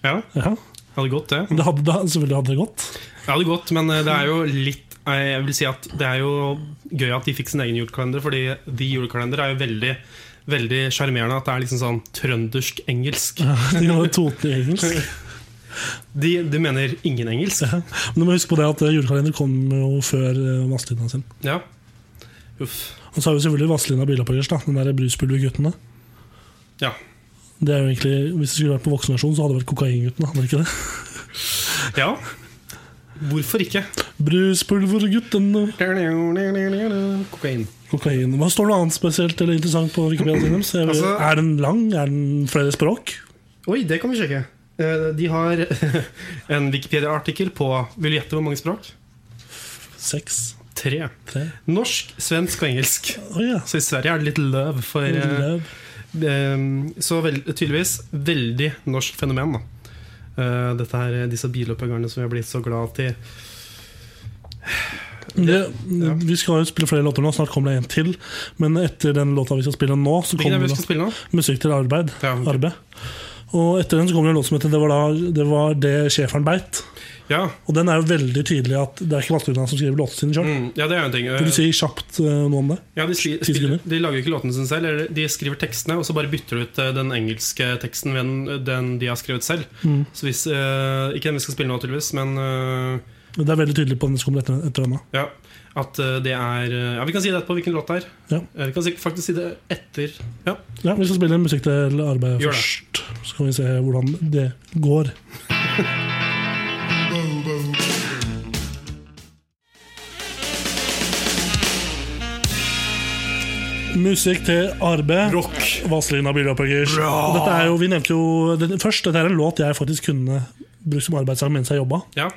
[SPEAKER 1] Ja,
[SPEAKER 2] Ja.
[SPEAKER 1] hadde gått, det.
[SPEAKER 2] Det hadde, da, selvfølgelig hadde det gått.
[SPEAKER 1] Ja, det er godt, men eh, det er jo litt eh, Jeg vil si at det er jo gøy at de fikk sin egen julekalender, fordi de julekalender er jo veldig Veldig sjarmerende at det er liksom sånn trøndersk-engelsk.
[SPEAKER 2] De hadde totet i engelsk.
[SPEAKER 1] De, de mener ingen engelsk.
[SPEAKER 2] Men du må huske på det at eh, julekalender kom jo før eh, Vazelina sin.
[SPEAKER 1] Ja. Uff.
[SPEAKER 2] Og så har vi selvfølgelig Vazelina Bilopphøyers, da, den der bruspulverguttene.
[SPEAKER 1] Ja.
[SPEAKER 2] Det er jo egentlig, Hvis det skulle vært på voksenversjon, så hadde det vært Kokainguttene. hadde det ikke det?
[SPEAKER 1] ja. Hvorfor ikke?
[SPEAKER 2] Bruspulverguttene.
[SPEAKER 1] Kokain.
[SPEAKER 2] Kokain. Hva står noe annet spesielt eller interessant på Wikipedia? deres? Jeg vet-
[SPEAKER 1] Altså-
[SPEAKER 2] er den lang? Er den flere språk?
[SPEAKER 1] Oi, det kan vi sjekke. Eh, De har en Wikipedia-artikkel på Vil du gjette hvor mange språk?
[SPEAKER 2] Seks?
[SPEAKER 1] Tre.
[SPEAKER 2] Tre?
[SPEAKER 1] Norsk, svensk og engelsk.
[SPEAKER 2] Å ja.
[SPEAKER 1] Så i Sverige er det litt love for eh,
[SPEAKER 2] Løv.
[SPEAKER 1] Ehm, Så vel, tydeligvis veldig norsk fenomen, da. Eh, dette her, disse bilopphøggerne som vi har blitt så glad til.
[SPEAKER 2] Det, vi skal jo spille flere låter nå. Snart kommer det en til. Men etter den låta vi skal spille nå, så
[SPEAKER 1] Hvilken er
[SPEAKER 2] kommer
[SPEAKER 1] det vi
[SPEAKER 2] det
[SPEAKER 1] skal spille nå?
[SPEAKER 2] musikk til arbeid.
[SPEAKER 1] Ja, ok.
[SPEAKER 2] arbeid. Og etter den så kommer det en låt som heter 'Det var, da, det, var det schæferen beit'.
[SPEAKER 1] Ja,
[SPEAKER 2] Og den er jo veldig tydelig at det er ikke Vazelina som skriver låtene sine sjøl.
[SPEAKER 1] mm, ja det er jo en ting. Eh,
[SPEAKER 2] Vil du si kjapt eh, noe om det?
[SPEAKER 1] ja, de, skri,
[SPEAKER 2] ti
[SPEAKER 1] spiller,
[SPEAKER 2] sekunder?
[SPEAKER 1] de lager jo ikke låtene sine selv, eller de skriver tekstene, og så bare bytter de ut eh, den engelske teksten ved den, eh, den de har skrevet selv. Så hvis, eh, ikke den vi skal spille nå, tydeligvis, men eh,
[SPEAKER 2] Det er veldig tydelig på den som kommer etter, etter denne.
[SPEAKER 1] ja, at eh, det er eh, Ja, vi kan si det etterpå, hvilken låt det er.
[SPEAKER 2] Ja.
[SPEAKER 1] Eh, Vi kan si- faktisk si det etter. Ja.
[SPEAKER 2] Ja, Vi skal spille musikk til arbeid
[SPEAKER 1] Gjør det.
[SPEAKER 2] først. Så kan vi se hvordan det går. Musikk til arbeid.
[SPEAKER 1] Rock.
[SPEAKER 2] Vazelina Bilopphøggers.
[SPEAKER 1] Bra!
[SPEAKER 2] Dette er jo, vi nevnte jo det, først, dette er en låt jeg faktisk kunne brukt som arbeidssang mens jeg jobba.
[SPEAKER 1] Ja.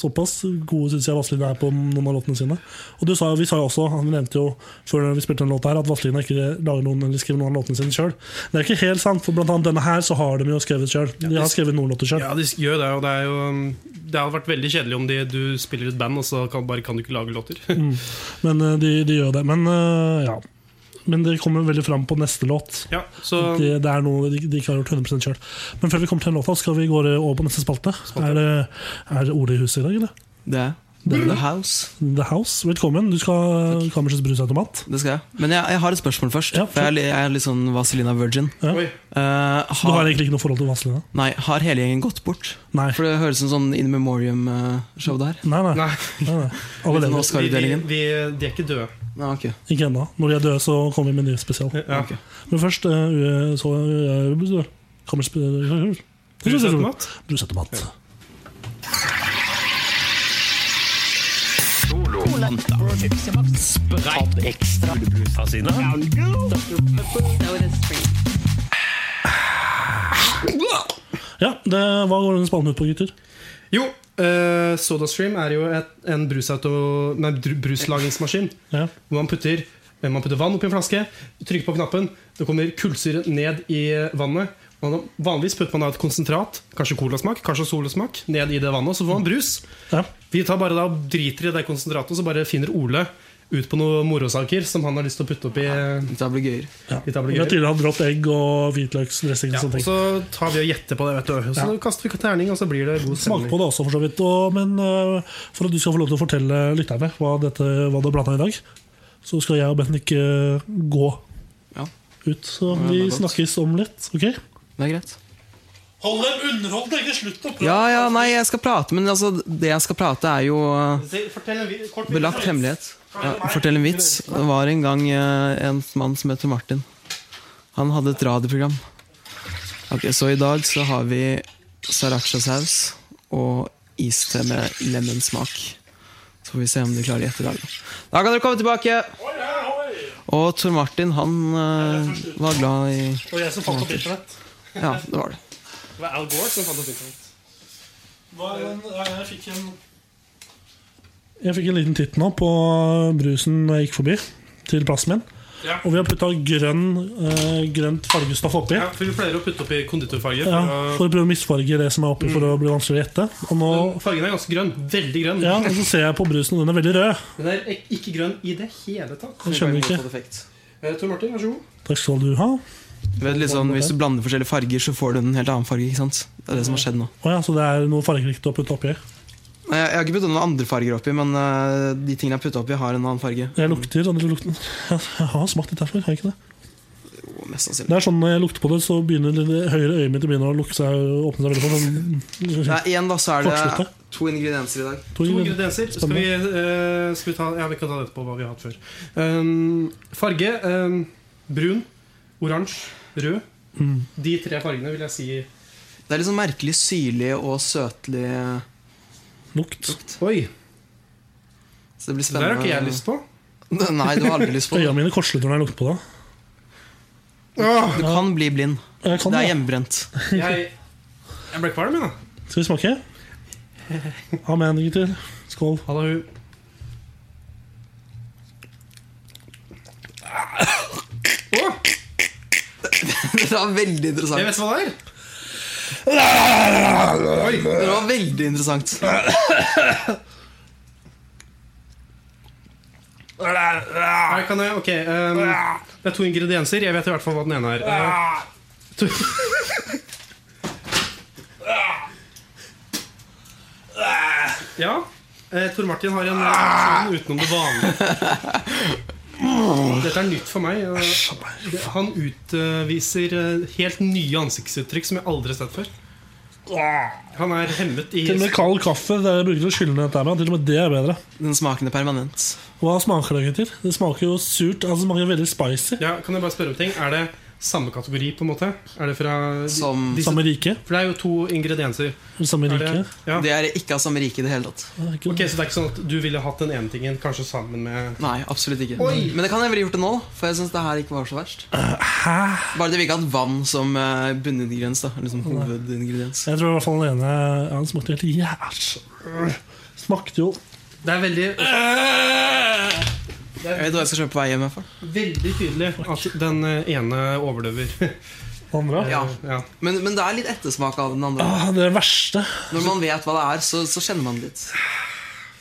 [SPEAKER 2] Såpass gode syns jeg Vazelina er på noen av låtene sine. Og du sa, Vi sa jo også, vi nevnte jo før vi spilte den låta her, at Vazelina ikke lager noen eller skriver noen av låtene sine sjøl. Det er ikke helt sant, for blant annet denne her så har de jo skrevet sjøl. De har skrevet noen låter sjøl.
[SPEAKER 1] Ja, de gjør det, og det er jo mm, Det hadde vært veldig kjedelig om de, du spiller i et band, og så kan, bare kan du ikke lage låter.
[SPEAKER 2] Men eh, de, de gjør det. Men eh, ja. Men det kommer veldig fram på neste låt.
[SPEAKER 1] ja, så
[SPEAKER 2] Det, det er noe de, de ikke har gjort 100 sjøl. Men før vi kommer til den låta, skal vi gå over på neste spalte. Er det, er det Ole i huset i dag, eller?
[SPEAKER 4] Det er The House.
[SPEAKER 2] The House, velkommen. Du skal ha Kammersets brusautomat.
[SPEAKER 4] Det skal jeg. Men jeg, jeg har et spørsmål først.
[SPEAKER 2] Ja,
[SPEAKER 4] for jeg, er li- jeg er litt sånn Vazelina Virgin.
[SPEAKER 2] Ja.
[SPEAKER 1] Oi.
[SPEAKER 2] Du
[SPEAKER 4] Eh,
[SPEAKER 2] har
[SPEAKER 4] har,
[SPEAKER 2] egentlig ikke noe forhold til Vazelina?
[SPEAKER 4] nei, har hele gjengen gått bort?
[SPEAKER 2] Nei.
[SPEAKER 4] For det høres ut som sånn In Memoriam-show der.
[SPEAKER 2] Nei, nei.
[SPEAKER 1] Nei,
[SPEAKER 2] nei, nei. Alle lever.
[SPEAKER 4] Litt sånn
[SPEAKER 1] vi, vi,
[SPEAKER 4] Oscar-utdelingen.
[SPEAKER 1] vi, de er ikke døde.
[SPEAKER 4] Ja, ok.
[SPEAKER 2] Ikke ennå. Når de er døde, så kommer vi med en ny spesial.
[SPEAKER 1] Ja.
[SPEAKER 4] Ok.
[SPEAKER 2] Men først eh, u- så uh, Kammers
[SPEAKER 1] Brusautomat?
[SPEAKER 2] Brusautomat. Ja, det, hva går den spalten ut på, gutter?
[SPEAKER 1] Jo, eh, SodaStream er jo et, en brusauto, nei, dru- bruslagingsmaskin
[SPEAKER 2] Ja.
[SPEAKER 1] hvor man putter eh, man putter vann oppi en flaske, trykker på knappen, det kommer kullsyre ned i vannet. Man, vanligvis putter man da et konsentrat, kanskje colasmak, kanskje solasmak, ned i det vannet, og så får man brus.
[SPEAKER 2] ja.
[SPEAKER 1] Vi tar bare da og driter i det konsentratet, og så bare finner Ole ut på noen morosaker som han har lyst til å putte oppi.
[SPEAKER 4] Dette her blir gøyere.
[SPEAKER 1] Dette her
[SPEAKER 2] Vi
[SPEAKER 1] blir
[SPEAKER 2] har
[SPEAKER 1] gøy.
[SPEAKER 2] tidligere hatt rått egg og hvitløksdressing.
[SPEAKER 1] Ja,
[SPEAKER 2] og sånne
[SPEAKER 1] og
[SPEAKER 2] ting.
[SPEAKER 1] så tar vi og gjetter på det, vet du. Og så
[SPEAKER 2] Ja.
[SPEAKER 1] kaster vi terning, og så blir det god
[SPEAKER 2] Smak på
[SPEAKER 1] stemning.
[SPEAKER 2] det også, for så vidt. Og, men eh, for at du skal få lov til å fortelle lytterne hva, dette, hva det blanda i dag, så skal jeg og Bendik eh, gå
[SPEAKER 4] Ja,
[SPEAKER 2] ut. Så
[SPEAKER 4] Ja,
[SPEAKER 2] vi
[SPEAKER 4] det er godt.
[SPEAKER 2] snakkes om litt, OK?
[SPEAKER 4] det er greit.
[SPEAKER 2] Hold dem underholdt, ikke slutt å
[SPEAKER 4] Ja, ja, nei, jeg skal prate, men altså, det jeg skal prate, er jo eh,
[SPEAKER 1] Fortell en kort
[SPEAKER 4] belagt hemmelighet. Ja, fortell en vits. Det var en gang eh, en mann som heter Martin. Han hadde et radioprogram. Ok, Så i dag så har vi sriracha-saus og iste med lemonsmak. Så får vi se om du klarer å gjette i dag. Da kan dere komme tilbake! Og Tor Martin, han eh, var glad i
[SPEAKER 2] Det var jeg som fant opp internett.
[SPEAKER 4] Ja, det var det.
[SPEAKER 1] Det var Al Gore som fant opp internett.
[SPEAKER 2] Jeg fikk en jeg fikk en liten titt nå på brusen når jeg gikk forbi, til plassen min.
[SPEAKER 1] Ja.
[SPEAKER 2] Og vi har putta grønn, eh, grønt fargestoff oppi.
[SPEAKER 1] Ja, for Vi pleier å putte oppi konditorfarge.
[SPEAKER 2] Ja,
[SPEAKER 1] for
[SPEAKER 2] for å prøve å misfarge det som er oppi, for å bli vanskelig å gjette. Og nå
[SPEAKER 1] å- Fargen er ganske grønn. Veldig grønn.
[SPEAKER 2] ja, og så ser jeg på brusen, og den er veldig rød.
[SPEAKER 1] Den er ek- ikke grønn i det hele tatt.
[SPEAKER 2] Jeg skjønner ikke.
[SPEAKER 1] Eh, Tor Martin, vær så god.
[SPEAKER 2] Takk skal du ha.
[SPEAKER 4] Du vet, litt sånn, hvis du blander forskjellige farger, så får du en helt annen farge. ikke sant? Det er det som har skjedd nå.
[SPEAKER 2] Å ja, så det er noe fargerikt å putte oppi.
[SPEAKER 4] Nei, Jeg, jeg har ikke putta noen andre farger oppi, men eh, de tingene jeg har putta oppi, har en annen farge.
[SPEAKER 2] Jeg lukter, og det lukter Jeg har smakt litt derfor, har jeg ikke det?
[SPEAKER 4] Jo, mest
[SPEAKER 2] Det
[SPEAKER 4] sannsynlig.
[SPEAKER 2] er sånn Når jeg lukter på det, så begynner det det høyre øyet mitt begynner å lukke seg, åpne seg veldig for sånn,
[SPEAKER 4] Nei, igjen da, så er det
[SPEAKER 2] Kortsluttet.
[SPEAKER 4] to ingredienser i dag.
[SPEAKER 2] to
[SPEAKER 1] To
[SPEAKER 2] grunner.
[SPEAKER 1] ingredienser. Skal vi, eh, skal vi ta Ja, vi kan ta det etterpå, hva vi har hatt før. Um, farge um, brun, oransje, rød.
[SPEAKER 2] Mm.
[SPEAKER 1] De tre fargene vil jeg si
[SPEAKER 4] Det er litt sånn merkelig syrlig og søtlig
[SPEAKER 2] Lukt.
[SPEAKER 4] lukt.
[SPEAKER 1] Oi,
[SPEAKER 4] Så det blir
[SPEAKER 1] det der
[SPEAKER 4] spennende.
[SPEAKER 1] har ikke jeg lyst på.
[SPEAKER 4] Nei, du har aldri lyst på det.
[SPEAKER 2] Øya mine kortslutter når jeg lukter på det.
[SPEAKER 4] Du kan bli blind.
[SPEAKER 2] Jeg Eh, kan
[SPEAKER 4] Det
[SPEAKER 2] det.
[SPEAKER 4] er hjemmebrent.
[SPEAKER 1] Jeg, jeg ble kvalm, jeg, da.
[SPEAKER 2] Skal vi smake? Amen, gutter. Skål.
[SPEAKER 1] Halla, hun. Å,
[SPEAKER 4] Det var veldig
[SPEAKER 1] jeg
[SPEAKER 4] interessant.
[SPEAKER 1] vet hva det er! Oi,
[SPEAKER 4] Det var veldig interessant.
[SPEAKER 1] her kan jeg, ok um, Det er to ingredienser. Jeg vet i hvert fall hva den ene er. Uh, to, ja. eh, Tor Martin har en reaksjon utenom det vanlige. Dette er nytt for meg. eh. Det- Han utviser eh, helt nye ansiktsuttrykk som jeg aldri har sett før. Han er hemmet i
[SPEAKER 2] Til og med kald kaffe det er jeg bruker til å skylle ned dette her med. Til og med det er bedre.
[SPEAKER 4] Den smaken er permanent.
[SPEAKER 2] Hva smaker det, gutter? Det smaker jo surt. Altså, det smaker veldig spicy.
[SPEAKER 1] Ja, Kan jeg bare spørre om ting? Er det samme kategori, på en måte? Er det fra
[SPEAKER 4] Som-
[SPEAKER 1] disse,
[SPEAKER 2] Samme rike.
[SPEAKER 1] For det er jo to ingredienser.
[SPEAKER 2] Samme
[SPEAKER 1] Er
[SPEAKER 2] rike.
[SPEAKER 1] det, ja.
[SPEAKER 4] Det er ikke av samme rike i det hele tatt.
[SPEAKER 2] Ja, ikke-
[SPEAKER 1] Ok, Så det er ikke sånn at du ville hatt den ene tingen kanskje sammen med
[SPEAKER 4] Nei, absolutt ikke.
[SPEAKER 1] Oi!
[SPEAKER 4] Men det kan jeg vel ha gjort det nå, for jeg syns det her ikke var så verst. Bare det vi ikke hadde vann som eh, bunningrediens. da Eller som hovedingrediens
[SPEAKER 2] Jeg tror i hvert fall den ene ja, den smakte helt jævlig. Smakte jo
[SPEAKER 1] Det er veldig,
[SPEAKER 4] Jeg vet hva jeg skal kjøpe på vei hjem. i hvert fall.
[SPEAKER 1] veldig tydelig at den eh, ene overdøver.
[SPEAKER 2] den andre.
[SPEAKER 4] Ja.
[SPEAKER 1] ja.
[SPEAKER 4] Men, men det er litt ettersmak av den andre.
[SPEAKER 2] Ah, det verste.
[SPEAKER 4] Når man vet hva det er, så, så kjenner man det litt.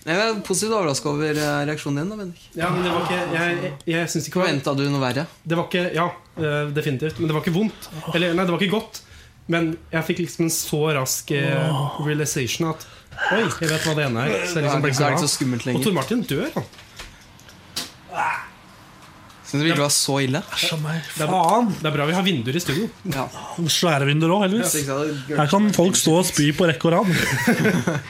[SPEAKER 4] Jeg er positivt overraska over eh, reaksjonen din. da, Bendik
[SPEAKER 1] ja, men det var ikke Jeg, jeg, jeg syns ikke det var-
[SPEAKER 4] Forventa du noe verre?
[SPEAKER 1] Det var ikke Ja, eh, definitivt. Men det var ikke vondt. Eller nei, det var ikke godt. Men jeg fikk liksom en så rask eh, realization at Oi, jeg vet hva det ene er. Så jeg
[SPEAKER 4] Så er
[SPEAKER 1] liksom
[SPEAKER 4] det
[SPEAKER 1] ble
[SPEAKER 4] ikke så
[SPEAKER 1] glad.
[SPEAKER 4] skummelt
[SPEAKER 1] Og Tor
[SPEAKER 4] lenger.
[SPEAKER 1] Martin dør, han.
[SPEAKER 4] Syns du virkelig det var så ille?
[SPEAKER 2] Æsj a meg.
[SPEAKER 1] Det er-
[SPEAKER 2] Faen!
[SPEAKER 1] Det er bra vi har vinduer i studio.
[SPEAKER 4] Ja.
[SPEAKER 2] Svære vinduer òg, heldigvis. Her
[SPEAKER 4] Her
[SPEAKER 2] kan folk stå og spy på rekke og rad.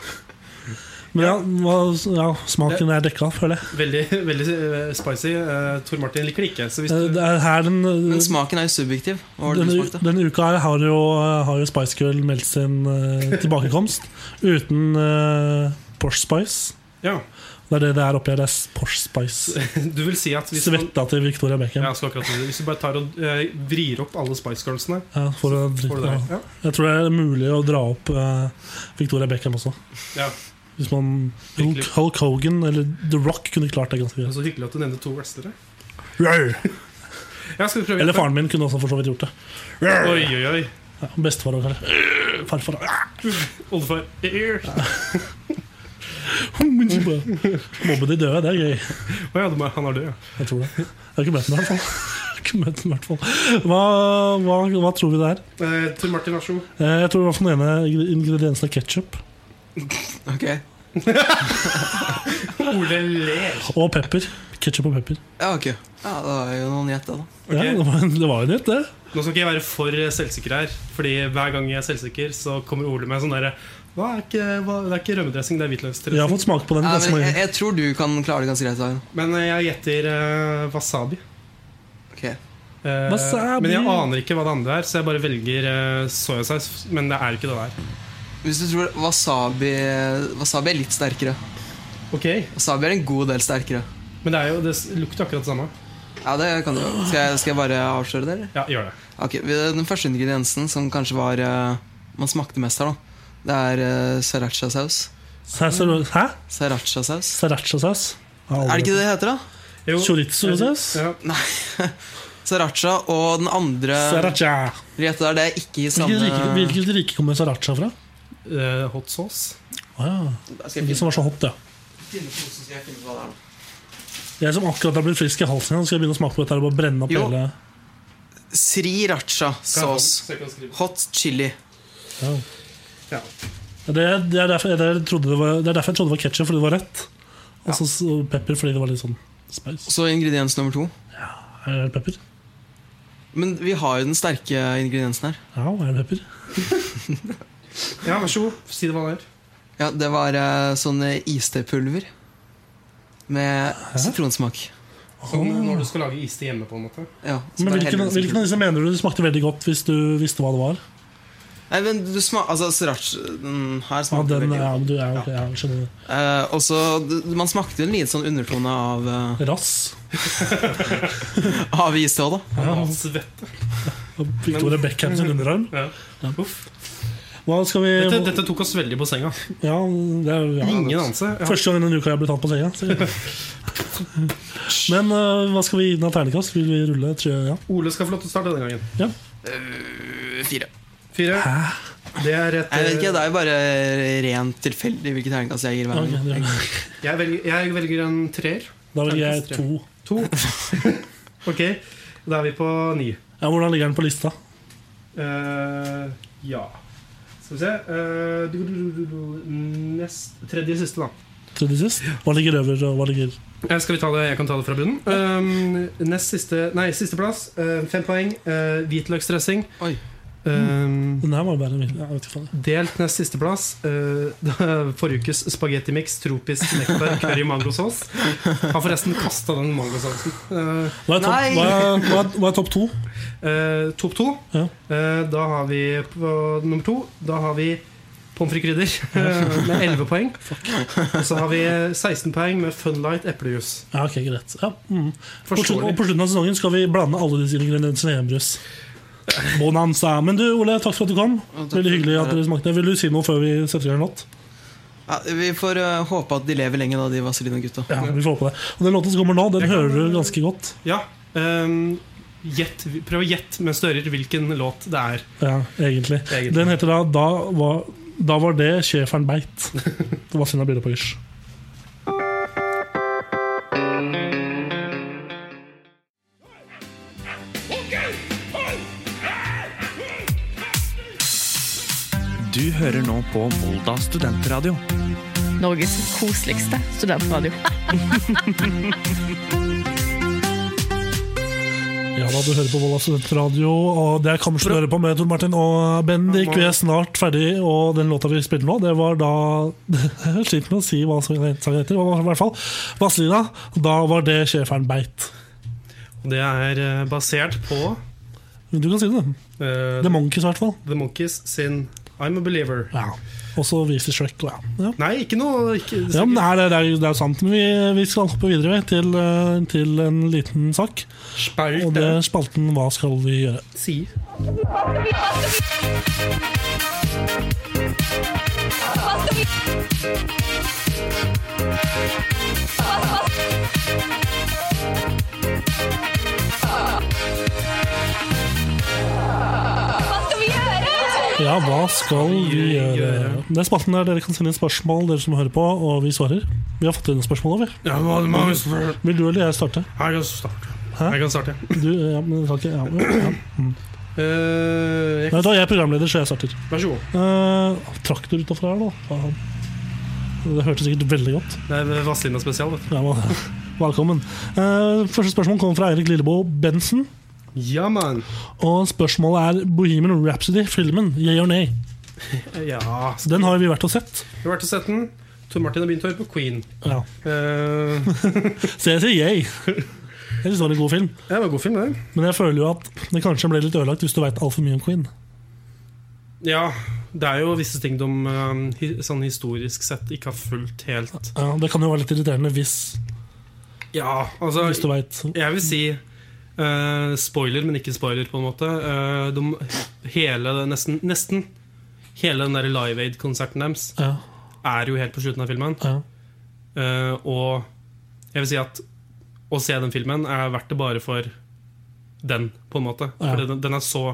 [SPEAKER 2] Men ja, hva- ja, smaken er dekka, føler jeg.
[SPEAKER 1] Veldig, veldig eh, spicy. Eh, Tor Martin liker det ikke. Så hvis
[SPEAKER 2] Eh,
[SPEAKER 1] du
[SPEAKER 2] Det er her den
[SPEAKER 4] Men smaken er jo subjektiv. Hva var det du
[SPEAKER 2] Denne,
[SPEAKER 4] smakte?
[SPEAKER 2] denne uka her har jo, har jo Spice Girl meldt sin eh, tilbakekomst uten eh, Porsche Spice.
[SPEAKER 1] Ja,
[SPEAKER 2] Det er det det er oppi her. Det er Porsche Spice.
[SPEAKER 1] du vil si at hvis man
[SPEAKER 2] Svetta til Victoria Beckham.
[SPEAKER 1] ja, så akkurat, det. Hvis du bare tar og eh, vrir opp alle Spice Girlsene,
[SPEAKER 2] Ja, for å
[SPEAKER 1] får du
[SPEAKER 2] drikke, ja.
[SPEAKER 1] det. Ja.
[SPEAKER 2] Jeg tror det er mulig å dra opp eh, Victoria Beckham også.
[SPEAKER 1] Ja.
[SPEAKER 2] Hvis man Hulk,
[SPEAKER 1] Virkelig.
[SPEAKER 2] Hulk Hogan eller The Rock kunne klart det ganske
[SPEAKER 1] Det er
[SPEAKER 2] greit.
[SPEAKER 1] Så hyggelig at du nevner to wrestlere.
[SPEAKER 2] Rar!
[SPEAKER 1] Ja, skal vi prøve
[SPEAKER 2] Eller faren min kunne også for så vidt gjort det.
[SPEAKER 1] Oi, oi, oi.
[SPEAKER 2] Ja, Bestefar og kanskje. Øh, Farfar.
[SPEAKER 1] Oldefar. Å
[SPEAKER 2] Mobbe de døde, det er gøy.
[SPEAKER 1] ja, du må- han er død, ja.
[SPEAKER 2] Jeg tror det. Jeg har ikke møtt den i hvert fall. Jeg har ikke møtt den i hvert fall. Hva, hva, hva tror vi det er?
[SPEAKER 1] Eh, Tor Martin, vær så god.
[SPEAKER 2] Eh, Jeg tror i hvert fall den ene ingrediensen er ketsjup.
[SPEAKER 4] Ok
[SPEAKER 1] Ole ler.
[SPEAKER 2] Og pepper. Ketsjup og pepper.
[SPEAKER 4] Ja, ok Ja, det var jo noen gjett, da. da.
[SPEAKER 2] Ja, det var, det var jo nytt, det.
[SPEAKER 1] Nå skal ikke jeg være for eh, selvsikker her, Fordi hver gang jeg er selvsikker, så kommer Ole med sånn derre hva er ikke, hva, det er ikke rømmedressing, det
[SPEAKER 2] Jeg
[SPEAKER 1] er
[SPEAKER 2] har
[SPEAKER 1] hvitløksdressing.
[SPEAKER 2] fått smake på den
[SPEAKER 4] Ja,
[SPEAKER 2] ganske
[SPEAKER 4] men
[SPEAKER 2] mange
[SPEAKER 4] jeg, jeg tror du kan klare det ganske greit. Da.
[SPEAKER 1] Men eh, jeg gjetter eh, wasabi.
[SPEAKER 4] Ok
[SPEAKER 1] Eh,
[SPEAKER 2] Wasabi.
[SPEAKER 1] Men jeg aner ikke hva det andre er, så jeg bare velger eh, soyasaus. Men det er ikke det der.
[SPEAKER 4] Hvis du tror wasabi Wasabi er litt sterkere.
[SPEAKER 1] Ok,
[SPEAKER 4] Wasabi er en god del sterkere.
[SPEAKER 1] Men det, er jo, det s- lukter akkurat det samme.
[SPEAKER 4] Ja, det kan du jo. Skal jeg, skal jeg bare avsløre det, eller?
[SPEAKER 1] Ja, gjør det.
[SPEAKER 4] Ok, vi- Den første ingrediensen som kanskje var eh, man smakte mest her, da, det er uh, sriracha-saus.
[SPEAKER 2] Sæ- sæ- Hæ?
[SPEAKER 4] Sriracha-saus.
[SPEAKER 2] Srirachasaus?
[SPEAKER 4] Er det ikke det det heter, da?
[SPEAKER 1] Jo. Eh,
[SPEAKER 2] Chorizo-saus?
[SPEAKER 1] Ja.
[SPEAKER 4] Sriracha og den andre
[SPEAKER 2] Sriracha.
[SPEAKER 4] rett der, det er ikke i samme
[SPEAKER 2] Hvilket rike, hvilket rike kommer sriracha fra?
[SPEAKER 1] Eh, hot sauce.
[SPEAKER 2] Å ja.
[SPEAKER 4] Skal
[SPEAKER 2] Det
[SPEAKER 4] jeg
[SPEAKER 2] som var så hot, ja.
[SPEAKER 4] finne på så skal jeg finne på hva det er.
[SPEAKER 2] Jeg som akkurat har blitt frisk i halsen igjen, skal jeg begynne å smake på dette her og bare brenne opp
[SPEAKER 4] Jo.
[SPEAKER 2] hele
[SPEAKER 4] Sriracha-saus.
[SPEAKER 1] Så jeg kan skrive.
[SPEAKER 4] Hot chili.
[SPEAKER 2] ja.
[SPEAKER 1] Ja.
[SPEAKER 2] det, det, er derfor, det, er- trodde det, var, det er derfor jeg trodde det var ketsjup, fordi det var rett. Og så så pepper fordi det var litt sånn spice.
[SPEAKER 4] Så ingrediens nummer to.
[SPEAKER 2] Er det pepper?
[SPEAKER 4] Men vi har jo den sterke ingrediensen her.
[SPEAKER 2] Ja, er det pepper?
[SPEAKER 1] ja, vær så god. Si det hva det er.
[SPEAKER 4] Ja, Det var eh, sånn eh, istepulver med sitronsmak.
[SPEAKER 1] Sånn når du skal lage iste hjemme, på en måte.
[SPEAKER 4] Ja, så
[SPEAKER 2] Men
[SPEAKER 4] bare
[SPEAKER 2] hvilken,
[SPEAKER 4] heller det som
[SPEAKER 2] hvilken av disse mener du smakte veldig godt hvis du visste hva det var?
[SPEAKER 4] Nei, men du smak, altså Sriracha Den her
[SPEAKER 2] Ja,
[SPEAKER 4] smakte
[SPEAKER 2] den,
[SPEAKER 4] veldig
[SPEAKER 2] ja,
[SPEAKER 4] godt.
[SPEAKER 2] du, ja, ok, ja, jeg skjønner det.
[SPEAKER 4] Eh, og så d- Man smakte en liten sånn undertone av, eh,
[SPEAKER 2] Rass.
[SPEAKER 4] av is til også, da.
[SPEAKER 1] Ja. Svette.
[SPEAKER 2] Og Victoria Beckham sin underarm.
[SPEAKER 1] Ja. Uff.
[SPEAKER 2] Hva skal vi
[SPEAKER 1] Dette, dette tok oss veldig på senga.
[SPEAKER 2] Ja, det er ja.
[SPEAKER 1] Ingen anelse. Ja.
[SPEAKER 2] Første gang i denne uka jeg ble tatt på senga. så- Men eh, hva skal vi gi den av terningkast? Vil vi rulle? Tror jeg, ja.
[SPEAKER 1] Ole skal få lov til å starte denne gangen.
[SPEAKER 4] Eh, Fire.
[SPEAKER 1] Fire. Det er et
[SPEAKER 4] Jeg vet ikke,
[SPEAKER 1] eh,
[SPEAKER 4] Det er jo bare rent tilfeldig hvilken terningkast jeg gir hver
[SPEAKER 2] Ok, det
[SPEAKER 4] gang.
[SPEAKER 2] gjør vi.
[SPEAKER 1] eh, jeg, velger, jeg velger en treer.
[SPEAKER 2] Da velger jeg
[SPEAKER 1] Terningkast tre.
[SPEAKER 2] to.
[SPEAKER 1] To. Ok, da er vi på ni.
[SPEAKER 2] Ja, hvordan ligger den på lista?
[SPEAKER 1] Eh, ja Skal vi se Eh, du, du, du, du, du. Nest, Tredje siste, da.
[SPEAKER 2] Tredje sist? Hva ligger over, og hva ligger
[SPEAKER 1] Eh, Skal vi ta det, Jeg kan ta det fra bunnen. Um, nest siste Nei, sisteplass. Uh, fem poeng. Uh, Hvitløksdressing.
[SPEAKER 4] Oi.
[SPEAKER 1] Um,
[SPEAKER 2] Den her var bare min. Jeg vet ikke faen.
[SPEAKER 1] delt nest sisteplass. Uh, forrige ukes spagettimix, tropisk nektar, curry mangosaus. Har forresten kasta den mangosausen. Uh,
[SPEAKER 2] Hva er topp,
[SPEAKER 4] Nei!
[SPEAKER 2] hva er, hva er, hva er topp to?
[SPEAKER 1] Eh, topp to.
[SPEAKER 2] Ja.
[SPEAKER 1] Eh, da har vi på nummer to Da har vi pommes frites-krydder eh, med 11 poeng. Og så har vi 16 poeng med Funlight eplejus.
[SPEAKER 2] Ja, ok, greit. Ja. Mm. På slutten, og
[SPEAKER 1] Forståelig.
[SPEAKER 2] på slutten av sesongen skal vi blande alle disse ingrediensene i hjemmebrus. Bonanza. Men du, Ole, takk for at du kom.
[SPEAKER 4] takk for-
[SPEAKER 2] Veldig hyggelig at dere smakte. Vil du si noe før vi setter i gang en låt?
[SPEAKER 4] Ja, vi får eh, håpe at de lever lenge, da, de Vazelina-gutta.
[SPEAKER 2] Ja, vi får håpe det. Og den låten som kommer nå, den hører du ganske godt.
[SPEAKER 1] Ja. ehm, gjett, prøv å gjette mens du hører hvilken låt det er.
[SPEAKER 2] Ja, egentlig.
[SPEAKER 1] Egentlig.
[SPEAKER 2] Den heter da Da var, da var det schæferen beit. Det var Sinna Byrdepakkers.
[SPEAKER 5] Du hører nå på Volda studentradio.
[SPEAKER 6] Norges koseligste studentradio.
[SPEAKER 2] Ja da, du hører på Volda Studentradio, og det er Kammersen du hører på med Tor Martin og Bendik. Vi er snart ferdig, og den låta vi spilte nå, det var da Jeg sliter med å si hva sangen heter, men i hvert fall Vazelina. Da var det schæferen beit.
[SPEAKER 1] Det er eh, basert på
[SPEAKER 2] Du kan si det.
[SPEAKER 1] eh,
[SPEAKER 2] The Monkeys, i hvert fall.
[SPEAKER 1] The Monkeys sin I'm a Believer.
[SPEAKER 2] Ja. Også Weasley Shrek. Ja. Ja.
[SPEAKER 1] Nei, ikke noe ikke,
[SPEAKER 2] Ja, men det, er, det, er, jo- det er jo sant, men vi, vi skal hoppe videre vi, til, eh, til en liten sak.
[SPEAKER 1] Spauk,
[SPEAKER 2] Og det
[SPEAKER 1] det
[SPEAKER 2] er spalten Hva skal vi gjøre?
[SPEAKER 1] si.
[SPEAKER 2] Ja, hva skal vi gjøre? Det er spalten der dere kan sende inn spørsmål, dere som hører på, og vi svarer. Vi har fått inn spørsmål over.
[SPEAKER 1] Ja, hva- hva- Jeg
[SPEAKER 2] Vil du eller jeg starte?
[SPEAKER 1] kan starte.
[SPEAKER 2] Hæ?
[SPEAKER 1] Jeg kan starte.
[SPEAKER 2] Du, ja, men jeg kan ikke, ja, ja.
[SPEAKER 1] Eh, jeg,
[SPEAKER 2] Nei, da, jeg er programleder, så jeg starter.
[SPEAKER 1] vær så god.
[SPEAKER 2] Uh, traktor utafor her, da. Faen. Det hørtes sikkert veldig godt.
[SPEAKER 1] Det er Vazelina spesial, vet du.
[SPEAKER 2] Ja, men, velkommen. Eh, første spørsmål kommer fra Eirik Lilleboe Bensen.
[SPEAKER 1] Ja, man.
[SPEAKER 2] Og spørsmålet er Bohemian Rhapsody-filmen, yeah or nay?
[SPEAKER 1] Eh, Ja,
[SPEAKER 2] Så Den har vi vært og sett.
[SPEAKER 1] Vi har vært og sett den. Tor Martin har begynt å høre på Queen.
[SPEAKER 2] Ja.
[SPEAKER 1] Eh,
[SPEAKER 2] Så jeg sier yay. Jeg syns det var en god film.
[SPEAKER 1] det var en god film, det.
[SPEAKER 2] Men jeg føler jo at det kanskje ble litt ødelagt hvis du veit altfor mye om Queen.
[SPEAKER 1] Ja, det er jo visse ting de eh, hi, sånn historisk sett ikke har fulgt helt.
[SPEAKER 2] Ja, det kan jo være litt irriterende hvis,
[SPEAKER 1] Ja,
[SPEAKER 2] hvis du
[SPEAKER 1] altså
[SPEAKER 2] veit
[SPEAKER 1] Jeg vil si eh, spoiler, men ikke spoiler, på en måte. Eh, de, hele, nesten, nesten hele den der Live Aid-konserten deres
[SPEAKER 2] ja,
[SPEAKER 1] er jo helt på slutten av filmen.
[SPEAKER 2] ja.
[SPEAKER 1] Eh, og jeg vil si at å se den filmen er verdt det bare for den, på en måte.
[SPEAKER 2] Ja.
[SPEAKER 1] For den, den er så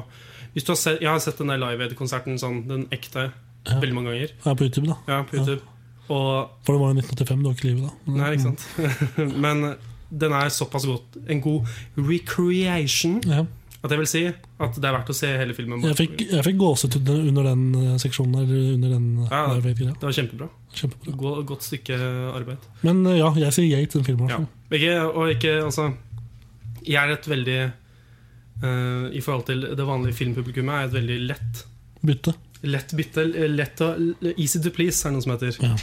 [SPEAKER 1] Hvis du har sett, Jeg har sett den der Live Aid-konserten, sånn, den ekte,
[SPEAKER 2] Ja.
[SPEAKER 1] veldig mange ganger.
[SPEAKER 2] Jeg er på YouTube, da.
[SPEAKER 1] Ja, på YouTube. Og
[SPEAKER 2] For det var jo 1985, det var ikke livet da. Men-
[SPEAKER 1] Nei, ikke sant? Men den er såpass godt en god recreation
[SPEAKER 2] Ja.
[SPEAKER 1] at jeg vil si at det er verdt å se hele filmen. bare
[SPEAKER 2] Jeg fikk,
[SPEAKER 1] for-
[SPEAKER 2] jeg fikk gåsehud under- under den eh, seksjonen. Eller under den eh,
[SPEAKER 1] Ja.
[SPEAKER 2] Live Aid-greia.
[SPEAKER 1] Det var kjempebra.
[SPEAKER 2] Kjempebra.
[SPEAKER 1] Gå- Godt stykke arbeid.
[SPEAKER 2] Men eh, ja, jeg sier yay til den filmen. i
[SPEAKER 1] Ja.
[SPEAKER 2] hvert fall.
[SPEAKER 1] Ikke, og ikke, altså Jeg er et veldig eh, I forhold til det vanlige filmpublikummet er jeg et veldig lett
[SPEAKER 2] Bytte.
[SPEAKER 1] Lett bytte. Lett å, easy to please, er det noe som heter.
[SPEAKER 2] Ja.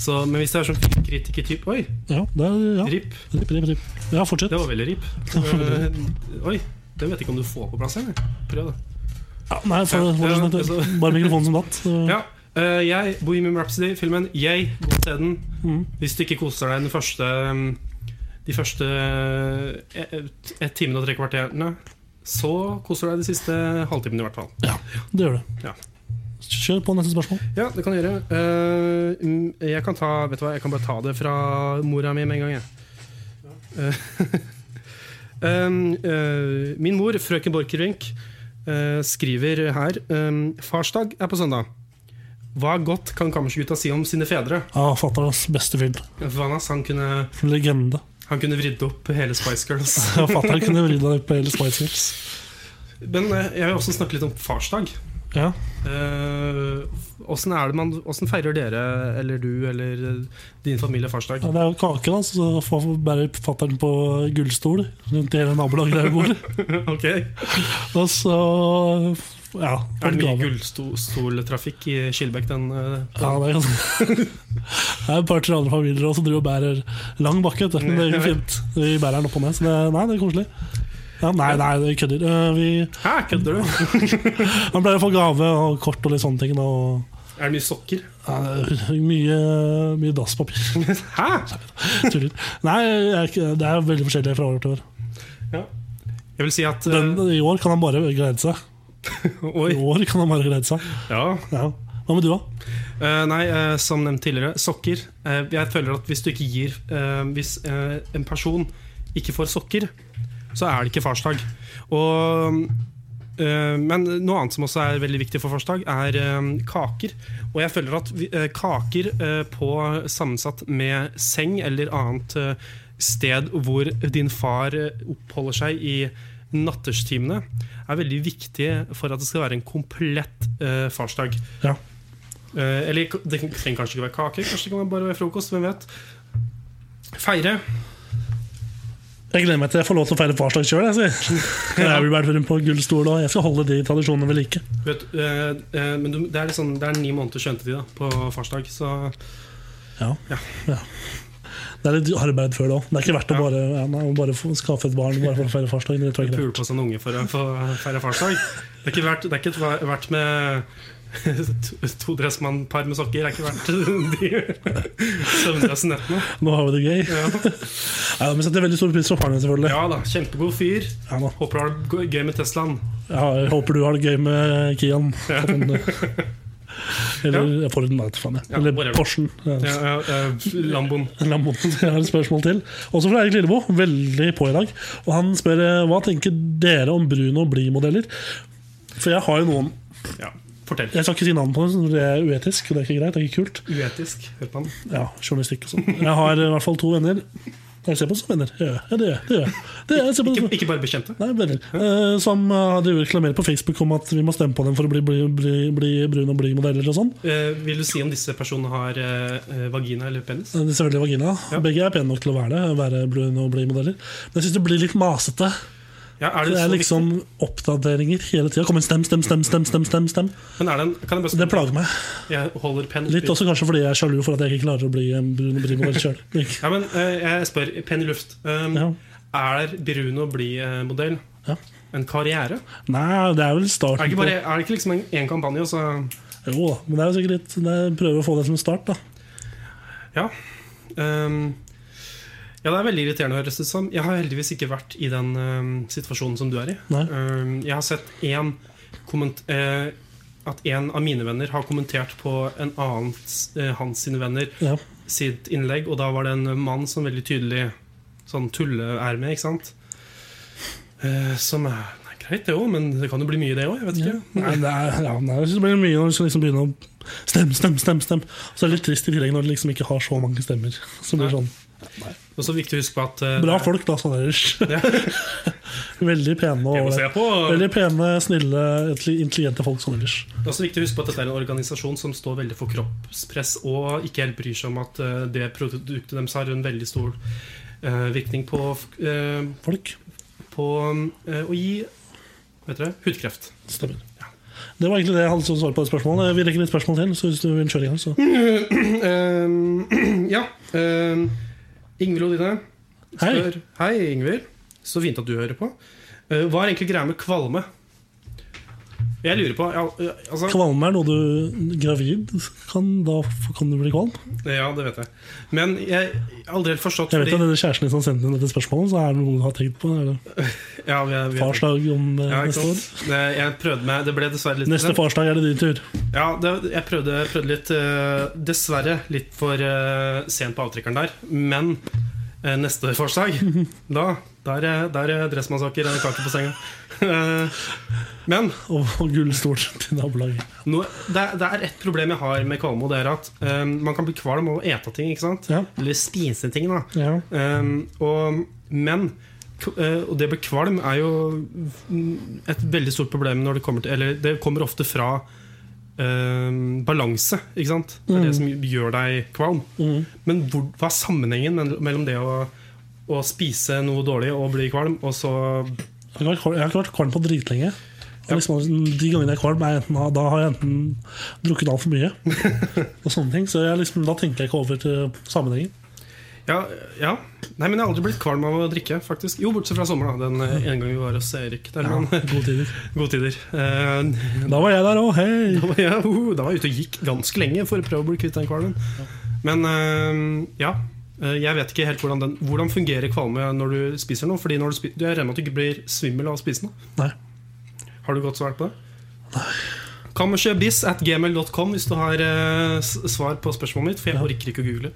[SPEAKER 1] Så, men hvis det er sånn filmkritiker-type Oi,
[SPEAKER 2] Ja, det er, ja.
[SPEAKER 1] RIP.
[SPEAKER 2] Rip, rip, rip. ja fortsett.
[SPEAKER 1] Det var veldig RIP. Eh, oi, det vet jeg ikke om du får på plass her. Prøv, da.
[SPEAKER 2] Ja, nei, for,
[SPEAKER 1] Ja,
[SPEAKER 2] fortsett.
[SPEAKER 1] ja, altså.
[SPEAKER 2] Bare mikrofonen som datt. så-
[SPEAKER 1] Ja. eh, jeg, Bohemian Rhapsody-filmen, yay, gå og se den. Hvis du ikke koser deg den første um, De første eh, et, et timen og tre kvarterene, så koser du deg de siste halvtimen i hvert fall.
[SPEAKER 2] Ja, det gjør det.
[SPEAKER 1] Ja.
[SPEAKER 2] Kjør på neste spørsmål.
[SPEAKER 1] Ja, det kan du gjøre. Eh, mm, jeg kan ta Vet du hva, jeg kan bare ta det fra mora mi med en gang, jeg. Eh, um, eh, min mor, frøken Borchgrevink, eh, skriver her um, Farsdag er på søndag. Hva godt kan kammersgutta si om sine fedre?
[SPEAKER 2] Ja, Fatterns beste film.
[SPEAKER 1] Vanas, han kunne
[SPEAKER 2] Legende.
[SPEAKER 1] Han kunne vridd opp hele Spice Girls.
[SPEAKER 2] Ja, Fatter'n kunne vridd deg på hele Spice Girls.
[SPEAKER 1] Men eh, jeg vil også snakke litt om farsdag. Eh,
[SPEAKER 2] Ja.
[SPEAKER 1] Åssen er det man Hvordan feirer dere, eller du, eller eh, din familie farsdag?
[SPEAKER 2] Ja, Det er jo kake, da, så får bærer fatter'n på gullstol rundt i hele nabolaget der vi bor.
[SPEAKER 1] ok Er
[SPEAKER 2] Og så ja, får
[SPEAKER 1] det mye
[SPEAKER 2] gave.
[SPEAKER 1] gullstoltrafikk i Kilbekk den eh,
[SPEAKER 2] Ja, det er ganske Det er et par-tre andre familier også som driver og bærer lang bakke. vet du. Men det går fint. Vi bærer den opp og ned, så det, nei, det er koselig. Ja, nei, nei, vi kødder. Eh, Vi,
[SPEAKER 1] Hæ, kødder du?
[SPEAKER 2] han pleier å få gave og kort og litt sånne ting. da, Og,
[SPEAKER 1] Er det mye sokker?
[SPEAKER 2] ja, det er mye, mye dasspapir.
[SPEAKER 1] Hæ?
[SPEAKER 2] Tuller. Nei, jeg, er ikke- det er veldig forskjellig fra år til år.
[SPEAKER 1] Jeg vil si at eh,
[SPEAKER 2] Den, I år kan han bare glede seg. I
[SPEAKER 1] Oi.
[SPEAKER 2] år kan han bare glede seg.
[SPEAKER 1] Ja.
[SPEAKER 2] Ja. Hva med du, da?
[SPEAKER 1] Eh, nei, eh, som nevnt tidligere, sokker. Eh, jeg føler at hvis du ikke gir eh, Hvis eh, en person ikke får sokker, så er det ikke farsdag. Og eh, men noe annet som også er veldig viktig for farsdag, er eh, kaker. Og jeg føler at vi, eh, kaker eh, på sammensatt med seng eller annet eh, sted hvor din far eh, oppholder seg i natterstimene, er veldig viktig for at det skal være en komplett eh, farsdag.
[SPEAKER 2] Ja.
[SPEAKER 1] Eh, eller k- det trenger kanskje ikke være kake, kanskje det kan bare være frokost. Hvem vet? Feire.
[SPEAKER 2] Jeg gleder meg til jeg får lov til å feire farsdag sjøl. Jeg, sier. jeg blir bært rundt på gullstol, og jeg skal holde de tradisjonene ved like.
[SPEAKER 1] Vet, eh, eh, men du, det, er litt sånn- det er ni måneder skjøntetid da, på farsdag, så
[SPEAKER 2] Ja.
[SPEAKER 1] Ja.
[SPEAKER 2] Ja. Det er litt arbeid før det òg. Det er ikke verdt å
[SPEAKER 1] Ja.
[SPEAKER 2] bare, ja, nei, å bare få- skaffe et barn bare for å feire farsdag. Det tror jeg ikke.
[SPEAKER 1] pule på seg en unge for å få feire farsdag. Det er ikke verdt, det er ikke ver- verdt med to- to dressmannpar med sokker. Det er ikke verdt de søvnløse nettene.
[SPEAKER 2] Nå har vi det gøy.
[SPEAKER 1] Ja.
[SPEAKER 2] Ja, men setter veldig stor pris på faren din, selvfølgelig.
[SPEAKER 1] ja da, kjempegod fyr.
[SPEAKER 2] Ja, da.
[SPEAKER 1] Håper du har det go- gøy med Teslaen.
[SPEAKER 2] ja, jeg håper du har det gøy med Kian. At han, eh, Eller jeg får en nat, faen jeg.
[SPEAKER 1] Ja,
[SPEAKER 2] Eller
[SPEAKER 1] whatever.
[SPEAKER 2] Porschen. Ja.
[SPEAKER 1] Ja, ja, eh, Lamboen.
[SPEAKER 2] La meg- Jeg har et spørsmål til. Også fra Erik Lilleboe. Veldig på i dag. Og han spør eh, hva tenker dere om brun og blid-modeller. For jeg har jo noen
[SPEAKER 1] Ja, fortell.
[SPEAKER 2] Jeg skal ikke si navn på dem, så det er uetisk. og Det er ikke greit, det er ikke kult.
[SPEAKER 1] Uetisk. Hør på han.
[SPEAKER 2] Ja, journalistikk og sånn. Jeg har eh, i hvert fall to venner. Jeg ser på som venner. Ja, ja, det gjør jeg. Det gjør jeg. Det, jeg ser på
[SPEAKER 1] Ikke,
[SPEAKER 2] som,
[SPEAKER 1] ikke bare bekjente.
[SPEAKER 2] nei, venner. Eh, som eh, driver og reklamerer på Facebook om at vi må stemme på dem for å bli, bli, bli, bli brun og blid modeller og sånn.
[SPEAKER 1] Eh, vil du si om disse personene har eh, eh, vagina eller penis?
[SPEAKER 2] Eh, det er Selvfølgelig vagina.
[SPEAKER 1] Ja.
[SPEAKER 2] Begge er pene nok til å være det. Være brun og blid modeller. Men jeg syns det blir litt masete.
[SPEAKER 1] Ja, er det
[SPEAKER 2] Det er
[SPEAKER 1] så
[SPEAKER 2] liksom oppdateringer hele tida. Kom igjen, stem, stem, stem, stem. stem, stem, stem.
[SPEAKER 1] viktig? Men er det en, kan jeg bare
[SPEAKER 2] Det plager meg.
[SPEAKER 1] Jeg holder penn
[SPEAKER 2] Litt også kanskje fordi jeg er sjalu for at jeg ikke klarer å bli en brun og blid modell sjøl.
[SPEAKER 1] Ja, men eh, jeg spør. Penn i luft. Um,
[SPEAKER 2] Ja.
[SPEAKER 1] Er Bruno Bli-modell
[SPEAKER 2] Ja.
[SPEAKER 1] en karriere?
[SPEAKER 2] Nei, det er vel
[SPEAKER 1] Er det
[SPEAKER 2] starten
[SPEAKER 1] ikke,
[SPEAKER 2] på
[SPEAKER 1] bare, er det ikke liksom en- en kampanje, og så
[SPEAKER 2] Jo da, men det er jo sikkert litt det er- Prøver å få det som en start, da.
[SPEAKER 1] Ja. Um, ja, det er veldig irriterende, høres det ut som. Jeg har heldigvis ikke vært i den um, situasjonen som du er i.
[SPEAKER 2] Nei.
[SPEAKER 1] Um, jeg har sett én komment... eh, at en av mine venner har kommentert på en annen eh, hans sine venner
[SPEAKER 2] Ja.
[SPEAKER 1] sitt innlegg, og da var det en mann som veldig tydelig Sånn tulleerme, ikke sant? Eh, som er nei, greit, det òg, men det kan jo bli mye, det òg. Jeg vet ikke.
[SPEAKER 2] Nei, det er, ja, nei, jeg synes det blir mye når du skal liksom begynne å stemme, stemme, stemme. stemme. Og så er det litt trist i tillegg når du liksom ikke har så mange stemmer. Så blir det sånn
[SPEAKER 1] Og så er det viktig å huske på at eh,
[SPEAKER 2] Bra
[SPEAKER 1] det er-
[SPEAKER 2] folk, da, sånn ellers. Veldig pene
[SPEAKER 1] Jeg
[SPEAKER 2] og
[SPEAKER 1] må se på.
[SPEAKER 2] Veldig pene, snille, intelligente folk sånn ellers.
[SPEAKER 1] Det er også viktig å huske på at dette er en organisasjon som står veldig for kroppspress og ikke helt bryr seg om at eh, det produktet deres har en veldig stor eh, virkning på, eh,
[SPEAKER 2] Folk.
[SPEAKER 1] på eh, å gi vet dere, hudkreft.
[SPEAKER 2] Stemmer. Det var egentlig det jeg hadde som svar på det spørsmålet. Vi rekker litt spørsmål til, så hvis du vil kjøre i gang, så
[SPEAKER 1] Eh, ja. eh, Ingvild Odine
[SPEAKER 2] Hei.
[SPEAKER 1] spør Hei, Ingvild. Så fint at du hører på. Eh, hva er egentlig greia med kvalme? Jeg lurer på ja, eh, altså,
[SPEAKER 2] Kvalme er noe du gravid kan Da kan du bli kvalm.
[SPEAKER 1] Ja, det vet jeg. Men jeg har aldri helt forstått
[SPEAKER 2] Jeg vet
[SPEAKER 1] fordi-
[SPEAKER 2] at det er Kjæresten din som sendte inn dette spørsmålet, så er det noe du har tenkt på. Er det
[SPEAKER 1] ja, jeg, jeg,
[SPEAKER 2] farsdag om eh,
[SPEAKER 1] Ja, ikke
[SPEAKER 2] neste år?
[SPEAKER 1] sant? Det, jeg prøvde meg, det ble dessverre litt
[SPEAKER 2] Neste farsdag er det din tur.
[SPEAKER 1] Ja, det, jeg prøvde, prøvde litt eh, Dessverre litt for eh, sent på avtrekkeren der Men eh, neste farsdag Da, der, er- der eh, er dressmannsaker og kake på senga Eh, Men
[SPEAKER 2] Og, og gullstol til nabolaget.
[SPEAKER 1] nå, det, er- det er et problem jeg har med kvalme Og det er at eh, man kan bli kvalm av å ete ting, ikke sant?
[SPEAKER 2] Ja.
[SPEAKER 1] Eller spise ting da
[SPEAKER 2] Ja.
[SPEAKER 1] Um, og, men k- eh, og det med kvalm er jo mm, et veldig stort problem når det kommer til Eller det kommer ofte fra um, balanse, ikke sant? Det er det som gjør deg kvalm.
[SPEAKER 2] Mm.
[SPEAKER 1] Men hvor, hva er sammenhengen mell- mellom det å, å spise noe dårlig og bli kvalm, og så
[SPEAKER 2] Jeg har ikke vært kvalm- jeg har ikke vært kvalm på dritlenge. Og Liksom, de gangene jeg er kvalm, er enten, da har jeg enten drukket altfor mye. og sånne ting Så jeg liksom, da tenker jeg ikke over til sammenhengen.
[SPEAKER 1] ja, ja. Nei, men jeg har aldri blitt kvalm av å drikke, faktisk. Jo, bortsett fra sommer, da. Den eh, ene gangen vi var hos Erik der. Men
[SPEAKER 2] Gode tider.
[SPEAKER 1] gode tider. Eh,
[SPEAKER 2] Da var jeg der òg, hei!
[SPEAKER 1] Da var jeg, uh, da var jeg ute og gikk ganske lenge for å prøve å bli kvitt den kvalmen. Men eh, ja. eh, Jeg vet ikke helt hvordan, den, hvordan fungerer kvalme når du spiser noe. Fordi når du spiser, Jeg regner med at du ikke blir svimmel av å spise noe.
[SPEAKER 2] Nei.
[SPEAKER 1] Har du godt svar på det? Kammersjøbiss at gmail.com hvis du har eh, s- svar på spørsmålet mitt. For jeg
[SPEAKER 2] Ja.
[SPEAKER 1] orker ikke å google.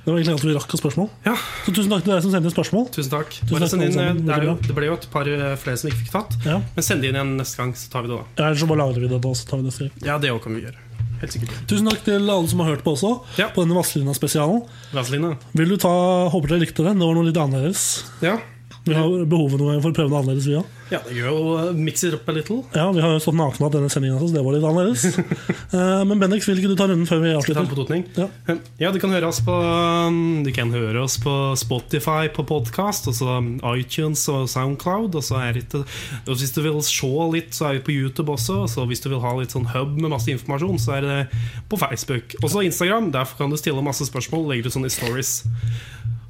[SPEAKER 2] Det var egentlig alt vi rakk av spørsmål.
[SPEAKER 1] Ja.
[SPEAKER 2] Så tusen takk til dere som sendte spørsmål.
[SPEAKER 1] Tusen takk.
[SPEAKER 2] Tusen
[SPEAKER 1] Bare
[SPEAKER 2] takk,
[SPEAKER 1] send inn,
[SPEAKER 2] alle
[SPEAKER 1] eh,
[SPEAKER 2] sammen.
[SPEAKER 1] det, er jo,
[SPEAKER 2] Veldig bra.
[SPEAKER 1] det ble jo et par eh, flere som ikke fikk tatt.
[SPEAKER 2] Ja.
[SPEAKER 1] Men send det inn igjen neste gang, så tar vi det da.
[SPEAKER 2] Eller så bare lagrer vi det, da, så tar vi det skriv.
[SPEAKER 1] Ja, det også kan vi gjøre. Helt sikkert.
[SPEAKER 2] Tusen takk til alle som har hørt på også,
[SPEAKER 1] Ja.
[SPEAKER 2] på denne Vazelina-spesialen.
[SPEAKER 1] Vaseline.
[SPEAKER 2] Vil du ta, Håper dere likte det. Det var noe litt annerledes.
[SPEAKER 1] Ja.
[SPEAKER 2] Vi har behov noen ganger for å prøve noe annerledes, vi òg.
[SPEAKER 1] ja, det gjør jo eh, mix it up a little.
[SPEAKER 2] Ja, vi har jo stått nakne av denne sendingen, så det var litt annerledes. Eh, Men Bendik, vil ikke du ta runden før vi
[SPEAKER 1] Skal vi ta den
[SPEAKER 2] avslutter?
[SPEAKER 1] på totning?
[SPEAKER 2] Ja.
[SPEAKER 1] Ja, du kan høre oss på um, Du kan høre oss på Spotify, på podkast, og så um, iTunes og Soundcloud. Og så er det, og hvis du vil se litt, så er vi på YouTube også. Og så hvis du vil ha litt sånn hub med masse informasjon, så er det på Facebook. Og så Instagram. Der kan du stille masse spørsmål. Legger du sånne stories.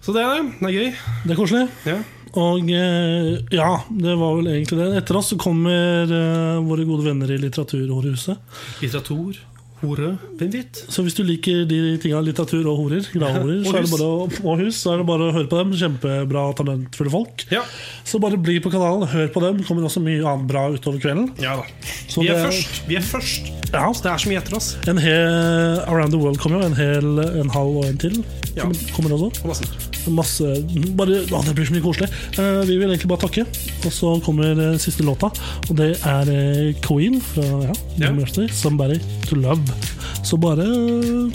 [SPEAKER 1] Så det er det. Det er gøy.
[SPEAKER 2] Det er koselig.
[SPEAKER 1] Ja.
[SPEAKER 2] Og eh, ja, det var vel egentlig det. Etter oss så kommer eh, våre gode venner i Litteraturhorehuset.
[SPEAKER 1] Litteratur. Hore. Hvem vet?
[SPEAKER 2] Så hvis du liker de tinga litteratur og horer, gladhorer, så er det
[SPEAKER 1] hus.
[SPEAKER 2] bare å, og hus, så er det bare å høre på dem. Kjempebra, talentfulle folk.
[SPEAKER 1] Ja.
[SPEAKER 2] Så bare bli på kanalen, hør på dem. Kommer også mye annet bra utover kvelden.
[SPEAKER 1] ja da.
[SPEAKER 2] Så
[SPEAKER 1] Vi er
[SPEAKER 2] det-
[SPEAKER 1] først. Vi er først.
[SPEAKER 2] Ja,
[SPEAKER 1] Så det er så mye etter oss.
[SPEAKER 2] en hel Around the World kommer jo. En hel, en halv og en til
[SPEAKER 1] Ja.
[SPEAKER 2] kommer, kommer også.
[SPEAKER 1] Og masse.
[SPEAKER 2] Masse bare, å, Det blir så mye koselig. Eh, vi vil egentlig bare takke, og så kommer eh, siste låta. Og det er eh, Queen fra ja,
[SPEAKER 1] Ja.
[SPEAKER 2] Jim Mercer, 'Somebody to Love'. Så bare eh,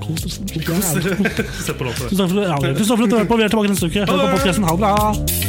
[SPEAKER 2] Kos dere. så jævlig.
[SPEAKER 1] Se på låta.
[SPEAKER 2] Tusen takk for ja, tusen takk for at du hørte på. Vi er tilbake neste uke. Hør på podcasten. Ha det bra.